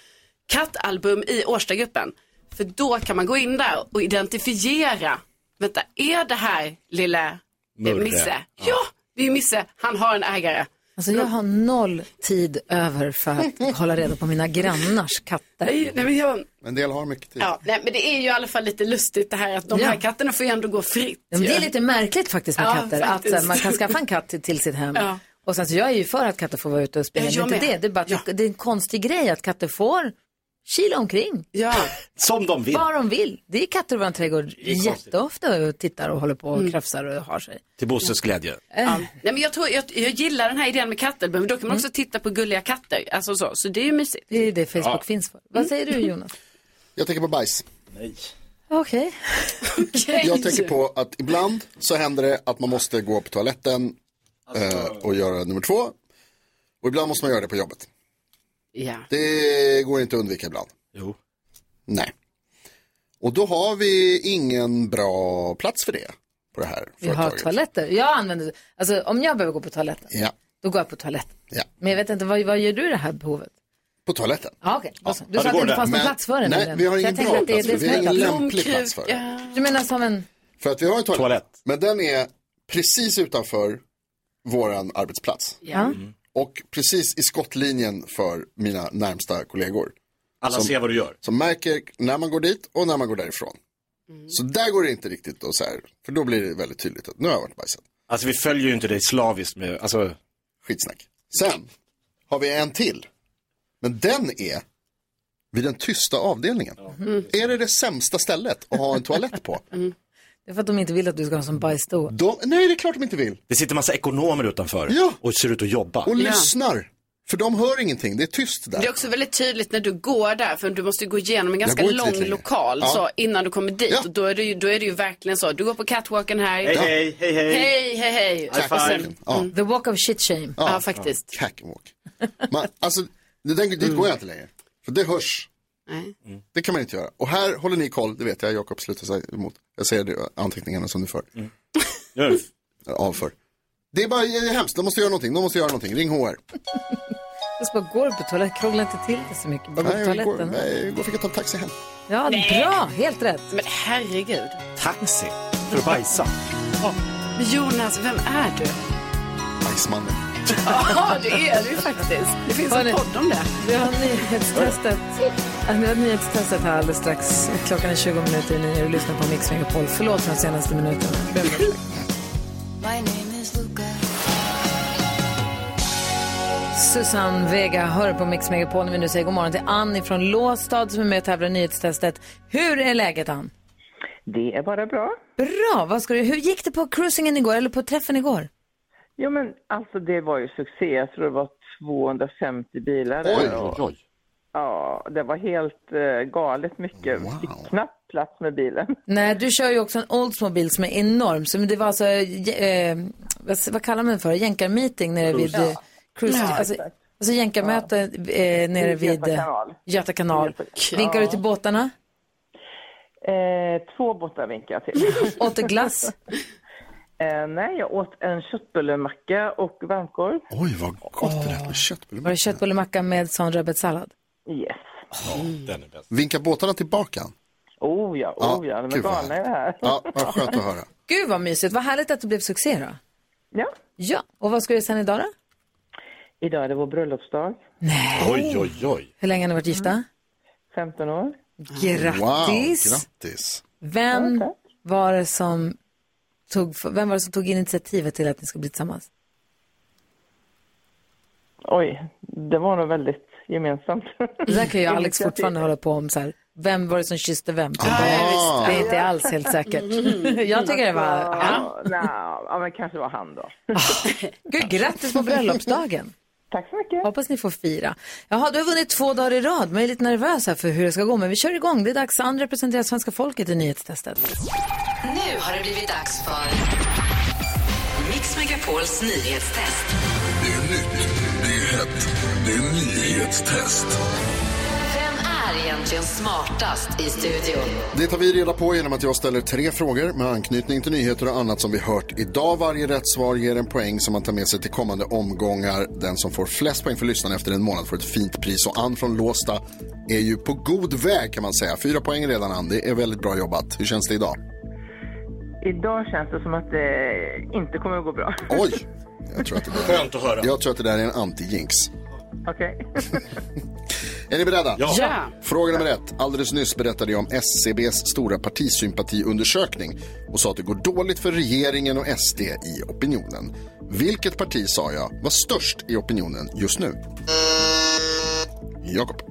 S4: Kattalbum i Årstagruppen. För då kan man gå in där och identifiera. Vänta, är det här lilla eh,
S2: Murre.
S4: Misse? Ja, det är Misse. Han har en ägare.
S2: Alltså jag har noll tid över för att hålla reda på mina grannars katter.
S4: Nej, nej, men jag...
S8: En del har mycket tid.
S4: Ja, nej, men det är ju i alla fall lite lustigt det här att de
S2: Ja.
S4: här katterna får ju ändå gå fritt.
S2: Ja, men det
S4: ju.
S2: är lite märkligt faktiskt med
S4: Ja,
S2: katter. Att
S4: faktiskt.
S2: så här, man kan skaffa en katt till- till sitt hem.
S4: Ja.
S2: Och sen, så jag är ju för att katter får vara ute och spela.
S4: Ja,
S2: Det
S4: jag
S2: är inte
S4: med.
S2: det. Det, är bara att det- det är en konstig grej att katter får kila omkring.
S4: Ja.
S3: Som de vill.
S2: Vad de vill. Det är katter i vår trädgård jätteofta och tittar och håller på och krafsar och har sig.
S3: Till Bosses glädje.
S4: Ja. Nej, men jag, tror, jag, jag gillar den här idén med katter, men då kan man också
S8: Mm.
S4: titta på gulliga katter. Alltså så, så det är ju mysigt.
S2: Det är ju det Facebook finns för. Vad säger du Jonas?
S8: Jag tänker på bajs.
S2: Okej.
S8: Jag tänker på att ibland så händer det att man måste gå på toaletten eh, och göra nummer två. Och ibland måste man göra det på jobbet.
S4: Ja.
S8: Det går inte att undvika ibland.
S3: Jo.
S8: Nej. Och då har vi ingen bra plats för det. På det här
S2: Vi har
S8: företaget.
S2: toaletter. Jag använder, alltså om jag behöver gå på toaletten,
S8: Ja,
S2: då går jag på toaletten.
S8: ja.
S2: Men jag vet inte, vad, vad gör du det här behovet?
S8: På toaletten.
S2: Ja, okej. Då så. Du
S8: Ja,
S2: sa
S8: det
S2: att det
S8: går
S2: inte
S8: det.
S2: fanns någon
S8: Men-
S2: plats för den.
S8: nej,
S2: i den.
S8: vi har
S2: Så jag
S8: ingen
S2: tänkte
S8: bra
S2: att det är
S8: plats för
S2: det
S8: det.
S2: som
S8: Vi har
S2: är
S8: ingen
S2: plats.
S8: lämplig plats för det.
S2: Du menar som en...
S8: För att vi har en toalett. Men den är precis utanför våran arbetsplats.
S2: Ja. Mm.
S8: Och precis i skottlinjen för mina närmsta kollegor.
S3: Alla ser vad du gör.
S8: Som märker när man går dit och när man går därifrån. Så där går det inte riktigt att så här, för då blir det väldigt tydligt att nu har jag varit bajsad.
S3: Alltså vi följer ju inte dig slaviskt med, alltså.
S8: Skitsnack. Sen har vi en till. Men den är vid den tysta avdelningen. Är det det sämsta stället att ha en toalett på?
S2: Det är för att de inte vill att du ska ha som bajsstå.
S13: Mm.
S8: De, nej, det är klart de inte vill.
S3: Det sitter massa ekonomer utanför
S8: Ja.
S3: och ser ut att jobba.
S8: Och lyssnar. För de hör ingenting, det är tyst där.
S4: Det är också väldigt tydligt när du går där, för du måste ju gå igenom en
S8: Jag
S4: ganska
S8: går inte dit
S4: lång
S8: längre.
S4: lokal
S8: Ja.
S4: så, innan du kommer dit. Och då, är det ju, då är det ju verkligen så, du går på catwalken här.
S8: Hej, hej,
S4: hej, hej. Hej, hej, hej. Och sen,
S8: Ja.
S2: The walk of shit shame.
S4: Ja, faktiskt.
S8: Ja, Catwalk. Man, alltså, det, den, dit går jag inte längre. För det hörs.
S4: Nej.
S8: Det kan man inte göra. Och här håller ni koll, det vet jag, Jakob slutar sig emot. Jag ser det, anteckningarna som du för.
S17: Mm.
S8: Avför. Det är bara det är hemskt, de måste göra någonting, de måste göra någonting. Ring HR.
S2: Jag ska bara går på toaletten, krångla inte till det så mycket. Bara gå på
S8: Nej, jag går,
S2: toaletten.
S8: nej, jag går och fick jag ta en taxi hem.
S2: Ja,
S8: Nej.
S2: bra, helt rätt.
S4: Men herregud.
S3: Taxi? För att bajsa?
S4: Men Jonas, vem är du?
S8: Bajsmannen.
S4: Ja, det är du ju faktiskt. Det finns
S2: Hörni,
S4: en podd om det.
S2: Vi har nyhetstestet. Äh, Vi har nyhetstestet här alldeles strax. Klockan är 20 minuter i nio och du lyssnar på Mix Megapol. Förlåt för de senaste minuterna. Jag ber om ursäkt.
S7: My name is Luca.
S2: Susanne Vega hör på Mix Megapol när vi nu säger god morgon till Ann från Låstad som är med och tävlar i nyhetstestet. Hur är läget Ann?
S14: Det är bara bra.
S2: Bra! Vad ska du, hur gick det på cruisingen igår eller på träffen igår?
S14: Jo men alltså det var ju succé. Jag tror det var 250 bilar där. Och- Ja, det var helt eh, galet mycket. Vi fick knappt plats med bilen.
S2: Nej, du kör ju också en Oldsmobile som är enorm. Så det var alltså, eh, vad, vad kallar man det för? Jänkarmeeting nere vid
S14: Cruise.
S2: eh, cruise.
S14: Ja,
S2: alltså,
S14: exakt.
S2: alltså jänkarmöte eh, nere
S14: Vid
S2: vid
S14: Göta
S2: eh,
S14: kanal.
S2: Göta kanal.
S14: Göta-
S2: Vinkar du
S14: Ja.
S2: till båtarna?
S14: Eh, två båtar vinkar jag till.
S2: åt du glass?
S14: Eh, nej, jag åt en köttbullemacka och varmkorv.
S8: Oj, vad gott det där med
S2: Var
S8: köttbullar.
S2: det köttbullemacka med sån rödbetssallad?
S14: Yes.
S8: Vinkar båtarna tillbaka?
S14: Oh ja, oh ja, de är
S8: gud vad
S14: galna i det här.
S8: Ja, vad skönt att höra.
S2: Gud vad mysigt, vad härligt att det blev succé då.
S14: Ja.
S2: Ja, och vad ska du sen idag då?
S14: Idag är det vår bröllopsdag.
S2: Nej.
S3: Oj, oj, oj.
S2: Hur länge har ni varit gifta?
S14: 15 år.
S2: Grattis!
S8: Wow, grattis.
S2: Vem var det som tog, vem var det som tog initiativet till att ni ska bli tillsammans?
S14: Oj, det var nog väldigt gemensamt.
S2: Det där kan ju Alex fortfarande hålla på om så här. Vem var det som kysste vem? Typ.
S14: visst.
S2: Det är inte alls helt säkert.
S14: Mm.
S2: Jag tycker det var...
S14: Ja, nej, ja, men kanske var han då.
S2: Ah. Gud, grattis på bröllopsdagen.
S14: Tack så mycket.
S2: Hoppas ni får fira. Jaha, du har vunnit två dagar i rad. Man är lite nervös här för hur det ska gå, men vi kör igång. Det är dags. Ann representerar svenska folket i nyhetstestet.
S7: Nu har det blivit dags för Mix Megapols nyhetstest.
S15: Det är nytt, det är hett, det är nyhetstest.
S7: Vem är egentligen smartast i studion?
S8: Det tar vi reda på genom att jag ställer tre frågor med anknytning till nyheter och annat som vi hört idag. Varje rätt svar ger en poäng som man tar med sig till kommande omgångar. Den som får flest poäng för lyssnaren efter en månad får ett fint pris. Och Ann från Låsta är ju på god väg kan man säga. Fyra poäng redan Ann, det är väldigt bra jobbat. Hur känns det idag?
S14: Idag känns det som att det inte kommer att gå bra.
S8: Oj! Jag tror att det där, Skönt att höra. Jag tror att det där är en anti-jinx.
S14: Okej.
S8: Är ni beredda?
S14: Ja. Ja.
S8: Fråga nummer ett. Alldeles nyss berättade jag om SCBs stora partisympatiundersökning och sa att det går dåligt för regeringen och SD i opinionen. Vilket parti sa jag var störst i opinionen just nu? Jakob.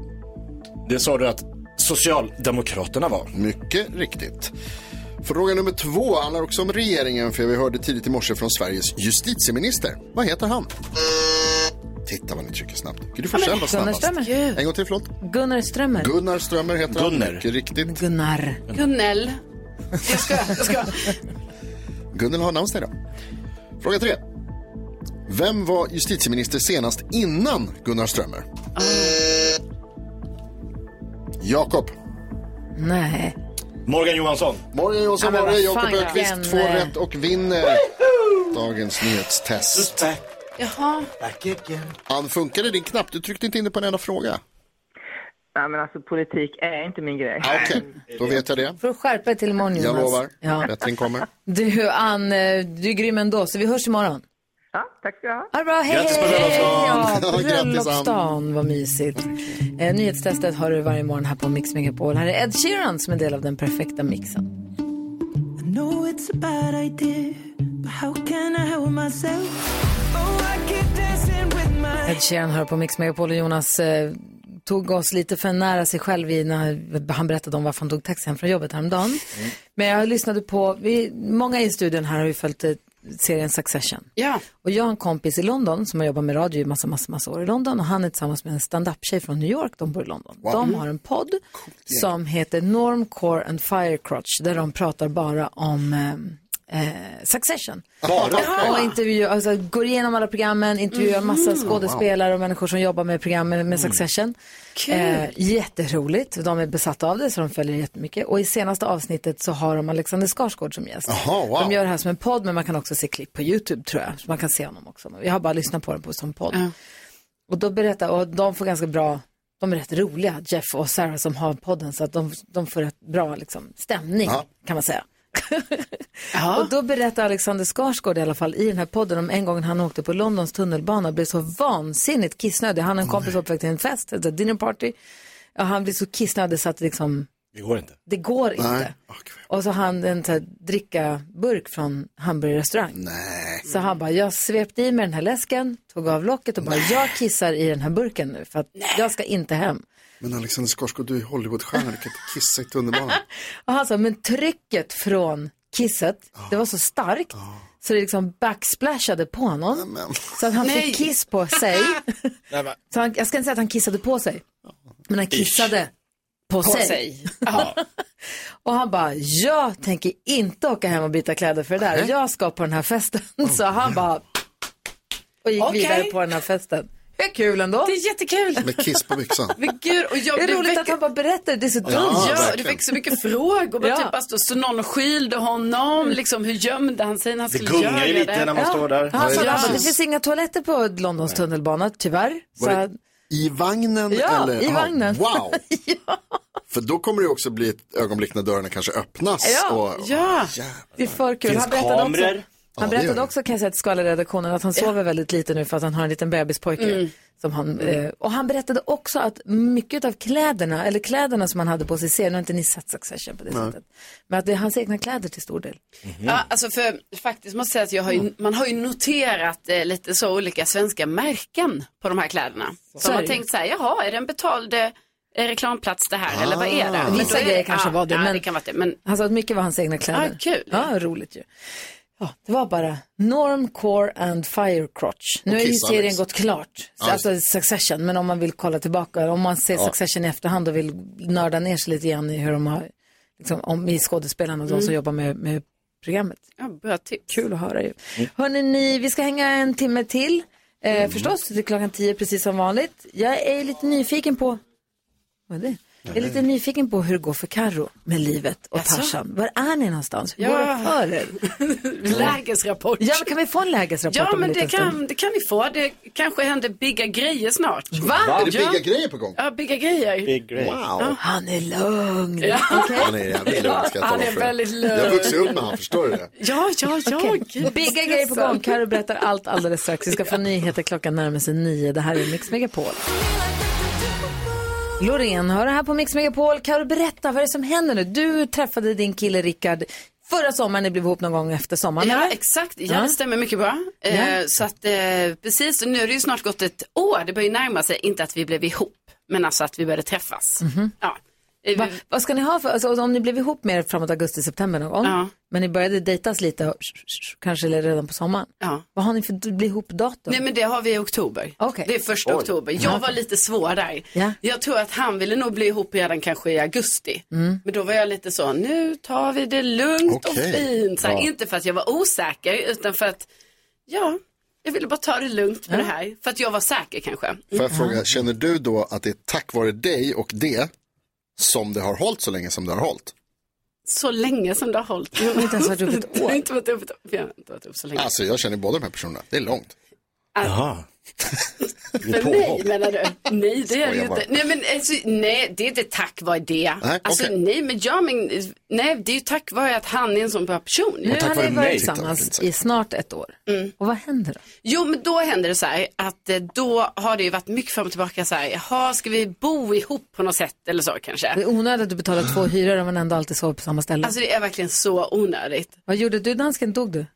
S3: Det sa du att Socialdemokraterna var.
S8: Mm. Mycket riktigt. Fråga nummer två handlar också om regeringen för vi hörde tidigt i morse från Sveriges justitieminister. Vad heter han? Titta vad ni trycker snabbt. Gud, du får
S2: Ja, men
S8: själv vara
S2: Gunnar
S8: snabbast.
S2: Strömmer.
S8: En gång till, förlåt.
S2: Gunnar Strömmer.
S8: Gunnar Strömmer heter han.
S3: Gunnar.
S8: Mycket riktigt.
S2: Gunnar.
S4: Gunnel. Jag ska, jag ska.
S8: Gunnel har namnsdag idag. Fråga tre. Vem var justitieminister senast innan Gunnar Strömmer? Jakob.
S2: Nej.
S3: Morgan Johansson.
S8: Morgan Johansson
S3: Ja, men
S8: var det.
S3: vad
S8: Jakob
S3: fan,
S8: Ökvist två
S2: eh,
S3: Janne.
S8: rätt och vinner dagens nyhetstest.
S4: Jaha.
S8: Ann, funkade din knapp? Du tryckte inte in det på en enda fråga.
S14: Nej, men alltså politik är inte min grej.
S8: Ah, Okej, då vet jag det.
S2: Får du skärpa dig till imorgon, Jonas?
S8: Jag lovar.
S2: Ja.
S8: Bättring kommer.
S2: Du, Ann, eh, du är grym ändå, så vi hörs imorgon.
S14: Ja, tack ska du ha.
S2: Ha det bra, hej!
S7: Grattis på bröllopsdagen.
S2: Ja,
S7: Grattis, Ann.
S2: bröllopsdagen, vad mysigt. Eh, nyhetstestet har du varje morgon här på Mix Megapol. Här är Ed Sheeran som är del av den perfekta mixen.
S7: I know it's a bad idea, but how can I help myself? Oh, I keep dancing with my...
S2: Ed Sheeran hör på Mix Megapol och Jonas eh, tog oss lite för nära sig själv i när han berättade om varför
S7: Mm.
S2: han tog taxi hem från jobbet häromdagen. Men jag lyssnade på, vi, många i studion här har ju följt eh, serien Succession.
S4: Ja.
S2: Och jag har en kompis i London som har jobbat med radio i massa, massa, massa år i London och han är tillsammans med en stand-up-tjej från New York, de bor i London.
S13: Wow.
S2: De har en podd som heter Normcore and Firecrotch där de pratar bara om eh, eh, Succession.
S13: Bara?
S2: Och intervjuar, alltså, går igenom alla programmen, intervjuar massa
S13: Mhm.
S2: skådespelare och människor som jobbar med programmen med Succession.
S13: Mm.
S2: Eh,
S13: Kul.
S2: jätteroligt, de är besatta av det så de följer jättemycket. Och i senaste avsnittet så har de Alexander Skarsgård som gäst.
S8: wow.
S2: De gör det här som en podd men man kan också se klipp på YouTube tror jag. Så man kan se honom också. Men Jag har bara lyssnat på den på, som podd. Och då berättar, och de får ganska bra, de är rätt roliga, Jeff och Sarah som har podden. Så att de, de får rätt bra liksom, stämning
S13: Ja.
S2: kan man säga. Och då berättar Alexander Skarsgård i alla fall i den här podden om en gång han åkte på Londons tunnelbana och blev så vansinnigt kissnödig. Han och en kompis var på väg till en fest, ett dinner party. Ja, han blev så kissnödig så att liksom,
S3: Det går inte.
S2: det går
S3: Nej.
S2: inte. Och så har han en så här drickaburk från hamburgerrestaurang. Nej. Så han bara, jag svepte i mig den här läsken, tog av locket och bara, jag kissar i den här burken nu för att jag ska inte hem.
S8: Men Alexander Skarsgård, du är Hollywoodstjärna, du kan inte kissa i tunnelbanan.
S2: Och han sa, men trycket från kisset, det var så starkt. Så det liksom backsplashade på honom. Så att han
S11: Nej.
S2: fick kiss på sig. så han, jag ska inte säga att han kissade på sig. Men han kissade på,
S4: På
S2: sig.
S4: sig.
S2: och han bara, jag tänker inte åka hem och byta kläder för det där. Jag ska på den här festen. Så han bara, och gick
S4: Okej.
S2: vidare på den här festen. Det är kul ändå.
S4: Det är jättekul.
S8: Med kiss på byxan.
S4: Men gud, och jag,
S2: det är
S4: det
S2: roligt
S4: väcker-
S2: att han bara berättar, det är så dumt.
S4: Ja, det väcker så mycket frågor. Men
S2: Ja.
S4: typ, alltså, så någon skylde honom, liksom, hur gömde han sig när han
S3: Det
S4: skulle
S3: gungar
S4: göra
S3: ju lite
S4: det?
S3: när man står där.
S2: Han sa
S3: Ja,
S2: att det
S3: precis.
S2: finns inga toaletter på Londons tunnelbana, tyvärr. Så
S8: Var det
S2: att-
S8: I vagnen?
S2: Ja,
S8: eller?
S2: i
S8: Aha,
S2: vagnen.
S8: Wow! För då kommer det också bli ett ögonblick när dörrarna kanske öppnas.
S2: Ja,
S8: och,
S2: ja.
S8: Jävlar.
S2: Det är för kul.
S8: Finns
S2: han berättade
S8: kameror?
S2: också,
S8: Ja, det
S2: han
S8: gör det.
S2: berättade också kan jag säga till skvallerredaktionen att han sover väldigt lite nu för att han har en liten bebispojke.
S13: Mm.
S2: Som han, eh, och han berättade också att mycket av kläderna, eller kläderna som han hade på sig ser, nu har inte ni sett Succession på det
S4: Nej.
S2: sättet, men att det är hans egna kläder till stor del.
S4: Ja, alltså för faktiskt måste jag säga att jag har
S2: Mm.
S4: ju, man har ju noterat eh, lite så olika svenska märken på de här kläderna.
S2: Så
S4: Så
S2: är
S4: man har
S2: det
S4: tänkt så här, jaha, är det en betald eh, reklamplats det här eller vad är det?
S2: Ah.
S4: Men
S2: Vissa
S4: då är det-
S2: grejer kanske
S4: ja,
S2: var det,
S4: ja,
S2: men-
S4: det kan vara det. Men
S2: Han sa att mycket var hans egna kläder.
S4: Ah, kul.
S2: Ja, roligt ju. Ja, det var bara Norm, Core and Firecrotch. Nu
S13: Och
S2: har ju
S13: Kiss,
S2: serien
S13: Alex.
S2: gått klart,
S13: Ja,
S2: alltså Succession, men om man vill kolla tillbaka, om man ser
S13: Ja.
S2: Succession i efterhand och vill nörda ner sig lite grann i hur de har, liksom, om, i skådespelarna och de som
S4: Mm.
S2: jobbar med, med programmet.
S4: ja, bra tips.
S2: Kul att höra ju.
S4: Mm.
S2: Hörrni, ni, vi ska hänga en timme till, eh, förstås, till klockan tio precis som vanligt. Jag är lite nyfiken på, vad är det? Jag är lite nyfiken på hur det går för Karo med livet och
S4: Jaså?
S2: Tarzan. Var är ni någonstans? Hur
S4: Ja.
S2: går det för er?
S4: Lägesrapport.
S2: Ja, men kan vi få en lägesrapport
S4: Ja,
S2: om en
S4: men
S2: liten
S4: det kan,
S2: stund?
S4: det kan vi få. Det kanske händer bigga grejer snart.
S2: Va? Är det
S4: Ja.
S2: bigga
S8: grejer på gång?
S4: Ja, bigga grejer.
S3: Big grej.
S8: Wow.
S2: Han är lugn.
S4: Ja.
S2: Okej.
S8: Han är jävligt lugn ska jag
S4: Han
S8: tala
S4: är
S8: för.
S4: väldigt lugn.
S8: Jag har vuxit upp med honom, förstår du det?
S4: Ja, ja, ja.
S2: Okej.
S4: gud,
S2: Bigga
S4: stressad.
S2: grejer på gång. Karo berättar allt alldeles strax. Vi ska få nyheter klockan närmar sig nio. Det här är Mix Megapol. Loreen, hör det här på Mix Megapol. Karo, berätta vad är det som händer nu? Du träffade din kille Rickard förra sommaren. Ni blev ihop någon gång efter sommaren,
S4: Ja,
S2: eller?
S4: exakt. Ja,
S2: Ja.
S4: det stämmer mycket bra.
S2: Ja.
S4: Eh, så att, eh, precis, och nu har det ju snart gått ett år. Det börjar ju närma sig, inte att vi blev ihop, men alltså att vi började träffas. Ja. Eh,
S2: Mhm. Va, vad ska ni ha för, alltså, om ni blev ihop mer framåt augusti-september någon gång,
S4: Ja.
S2: men ni började dejtas lite, och, kanske redan på sommaren. Vad har ni för bli ihop-datum?
S4: Nej, men det har vi i oktober. Det är första
S2: Oj.
S4: oktober.
S2: Ja.
S4: Jag var lite svår där.
S2: Ja.
S4: Jag tror att han ville nog bli ihop redan kanske i augusti.
S2: Mm.
S4: Men då var jag lite så, nu tar vi det lugnt
S2: Okej.
S4: och fint. Så här,
S2: Ja.
S4: Inte för att jag var osäker, utan för att, ja, jag ville bara ta det lugnt med det här. För att jag var säker kanske. Mm.
S8: Får jag fråga, känner du då att det är tack vare dig och det som det har hållit så länge som det har hållit?
S4: Så länge som det har hållit. Jag
S2: har inte ens varit ihop ett år.
S4: Jag har inte varit ihop ett år. Jag har inte varit ihop så länge.
S8: Alltså jag känner båda de här personerna, det är långt.
S3: Jaha.
S4: För mig menar du? Nej, det är det
S8: Skojar
S4: ju
S8: bara.
S4: inte. Nej, men alltså, nej, det är inte tack vare det.
S8: Nej,
S4: alltså,
S8: okej.
S4: nej, men jag men, nej, det är ju tack vare att han är en sån bra person.
S2: Nu har ni varit tillsammans i snart ett år.
S4: Mm.
S2: Och vad händer då?
S4: Jo, men då händer det så här att eh, då har det ju varit mycket fram och tillbaka så här, jaha, ska vi bo ihop på något sätt eller så kanske?
S2: Det är onödigt att du betalar två hyror om man ändå alltid sover på samma ställe.
S4: Alltså det är verkligen så onödigt.
S2: Vad gjorde du dansken? Dog du?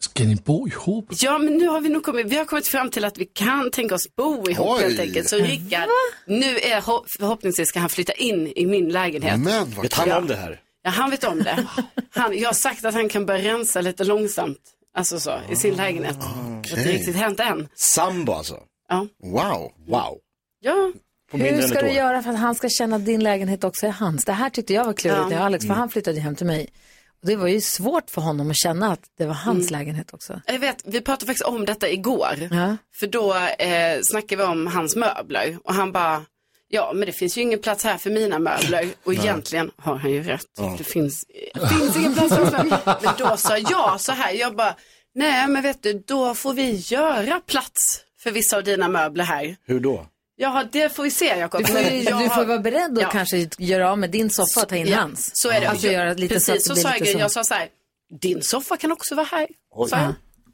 S6: Ska ni bo ihop?
S4: Ja, men nu har vi nog kommit, vi har kommit fram till att vi kan tänka oss bo ihop
S6: Oj.
S4: helt enkelt. Så
S6: Va?
S4: Rickard, nu är, ho- förhoppningsvis ska han flytta in i min lägenhet.
S18: Mm.
S8: Men vad
S3: Vet han om det här?
S4: Ja, han vet om det. Han, jag har sagt att han kan börja rensa lite långsamt. Alltså så, i sin lägenhet. Det har inte riktigt hänt än.
S3: Sambo alltså?
S4: Ja.
S3: Wow. Wow.
S4: Ja.
S2: Hur ska du göra för att han ska känna att din lägenhet också är hans? Det här tyckte jag var klurigt,
S4: Ja.
S2: ja. Alex, för
S4: Mm.
S2: han flyttade ju hem till mig. Och det var ju svårt för honom att känna att det var hans
S4: Mm.
S2: lägenhet också.
S4: Jag vet, vi pratade faktiskt om detta igår.
S2: Ja.
S4: För då eh, snackade vi om hans möbler. Och han bara, ja men det finns ju ingen plats här för mina möbler. Och
S19: Nej.
S4: egentligen har han ju rätt. Det finns, det finns ingen plats för mina möbler. Men då sa jag så här, jag bara, nej men vet du, då får vi göra plats för vissa av dina möbler här.
S3: Hur då?
S4: Jaha, det får vi se Jakob.
S2: Du får,
S4: Men
S2: ju,
S4: jag
S2: du
S4: har-
S2: får vara beredd att
S4: Ja.
S2: kanske göra av med din soffa och ta in
S4: Ja,
S2: hans.
S4: Så är det.
S2: Alltså göra lite
S4: Precis,
S2: så att det
S4: så,
S2: blir
S4: sa
S2: lite
S4: jag,
S2: så.
S4: jag sa så här, din soffa kan också vara här.
S3: Oj.
S4: Sa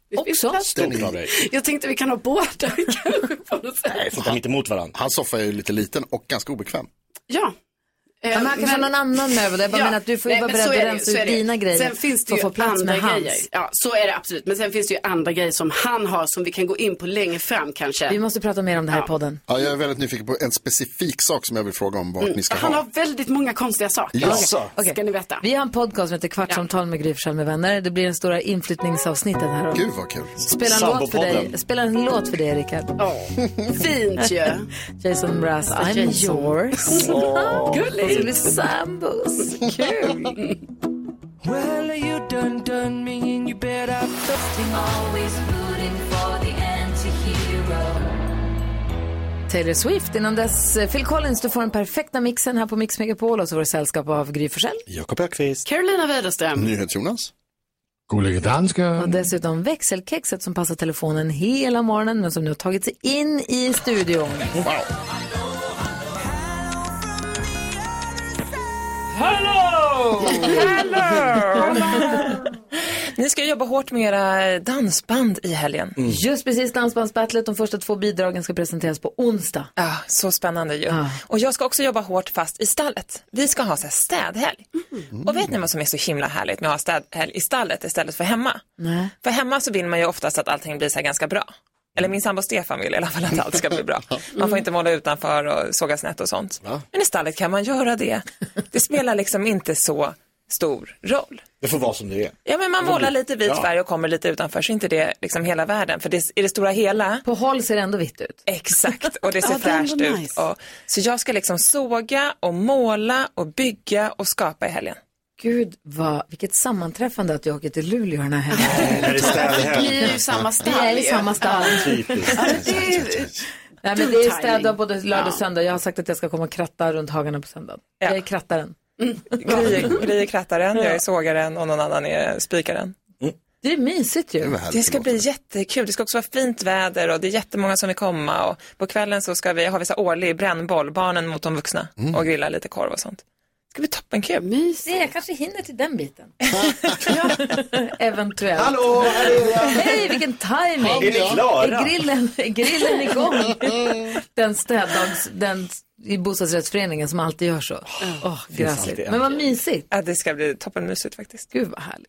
S4: jag. Också?
S8: Stort av dig.
S4: Jag tänkte vi kan ha båda.
S8: Nej,
S3: sitta mitt emot varandra.
S8: Hans soffa är ju lite liten och ganska obekväm.
S4: Ja. Ehm,
S2: Ja, men han kanske har någon annan möbel. Jag bara menar att du får ju vara
S4: men så är
S2: beredd
S4: det ju,
S2: att rensa
S4: så
S2: ut
S4: är det ju.
S2: dina grejer
S4: Sen finns det
S2: för att
S4: ju
S2: få plats
S4: andra
S2: med hans.
S4: grejer. Ja, så är det absolut. Men sen finns det ju andra grejer som han har som vi kan gå in på längre fram kanske.
S2: Vi måste prata mer om det här i podden.
S8: Ja, jag är väldigt nyfiken på en specifik sak som jag vill fråga om vart
S4: Mm.
S8: ni ska
S4: Han
S8: ha.
S4: har väldigt många konstiga saker.
S8: Jaså?
S4: Okej, Ska ni veta.
S2: Vi har en podcast som heter Kvartsamtal med Gry Forssell med vänner. Det blir det stora inflyttningsavsnittet här.
S8: Gud vad kul.
S2: Spela en, låt för dig. Spela en låt för dig, Rickard.
S4: Fint ju.
S2: Jason Mraz, I'm
S4: Jason.
S2: yours.
S4: Åh,
S2: Och så
S4: gulligt.
S2: blir sambos. Kul.
S7: Well, you done done me and you bet I fucked him. Always rooting for the anti-hero.
S2: Taylor Swift. Innan dess, eh, Phil Collins, du får den perfekta mixen här på Mix Megapol och så får du sällskap av Gry Forssell.
S3: Jakob Ökvist.
S4: Carolina Widerström.
S8: NyhetsJonas.
S6: Gullige danska.
S2: Och dessutom växelkexet som passar telefonen hela morgonen men som nu har tagit sig in i studion.
S17: Hello!
S2: Hello!
S17: Ni ska jobba hårt med era dansband i helgen.
S2: Just precis Dansbandsbattlet, de första två bidragen ska presenteras på onsdag.
S17: Ja, så spännande ju. Och jag ska också jobba hårt fast i stallet. Vi ska ha så här städhelg.
S3: Mm.
S17: Och vet ni vad som är så himla härligt med att ha städhelg i stallet istället för hemma?
S2: Nej.
S17: För hemma så vill man ju oftast att allting blir så här ganska bra. Eller min sambo Stefan vill i alla fall att allt ska bli bra. Man får inte måla utanför och såga snett och sånt. Men i stallet kan man göra det. Det spelar liksom inte så stor roll.
S3: Det får vara som det är.
S17: Ja, men man
S3: Det
S17: målar
S3: blir-
S17: lite vit
S3: Ja.
S17: färg och kommer lite utanför så inte det liksom hela världen. För det, i det stora hela.
S2: På håll ser det ändå vitt ut.
S17: Exakt, och det ser
S2: Ja, det är ändå
S17: fräscht ut.
S2: nice.
S17: Och, så jag ska liksom såga och måla och bygga och skapa i helgen.
S2: Gud, vad, vilket sammanträffande att jag åker till Luleå den här helgen.
S17: Är det städhelg?
S4: Vi är ju i samma stall.
S2: Vi är i
S4: ju.
S2: samma stall.
S4: Ja.
S2: Typiskt.
S4: Ja, men det är ju-
S2: Nej, men det är
S4: Dum
S2: städa
S4: timing.
S2: både
S4: Ja.
S2: lördag och söndag. Jag har sagt att jag ska komma och kratta runt hagarna på söndag. Jag är krattaren.
S17: Gry Gry är krattaren, jag är sågaren och någon annan är spikaren.
S2: Det är mysigt ju.
S17: Det ska bli jättekul. Det ska också vara fint väder och det är jättemånga som vill komma. Och på kvällen så ska vi ha vi så här årlig brännboll, barnen mot de vuxna och grilla lite korv och sånt. Det ska bli toppenkul.
S2: Mysigt. Jag kanske hinner till den biten. Eventuellt.
S3: Hallå, här är jag.
S2: Hej, vilken timing.
S3: Är ni klara?
S2: Är grillen, är grillen igång? den städdags, den i bostadsrättsföreningen som alltid gör så. Åh,
S17: Finns alltid
S2: gräsligt.
S17: en
S2: Men vad mysigt.
S17: Ja, det ska bli toppenmysigt faktiskt.
S2: Gud vad härligt.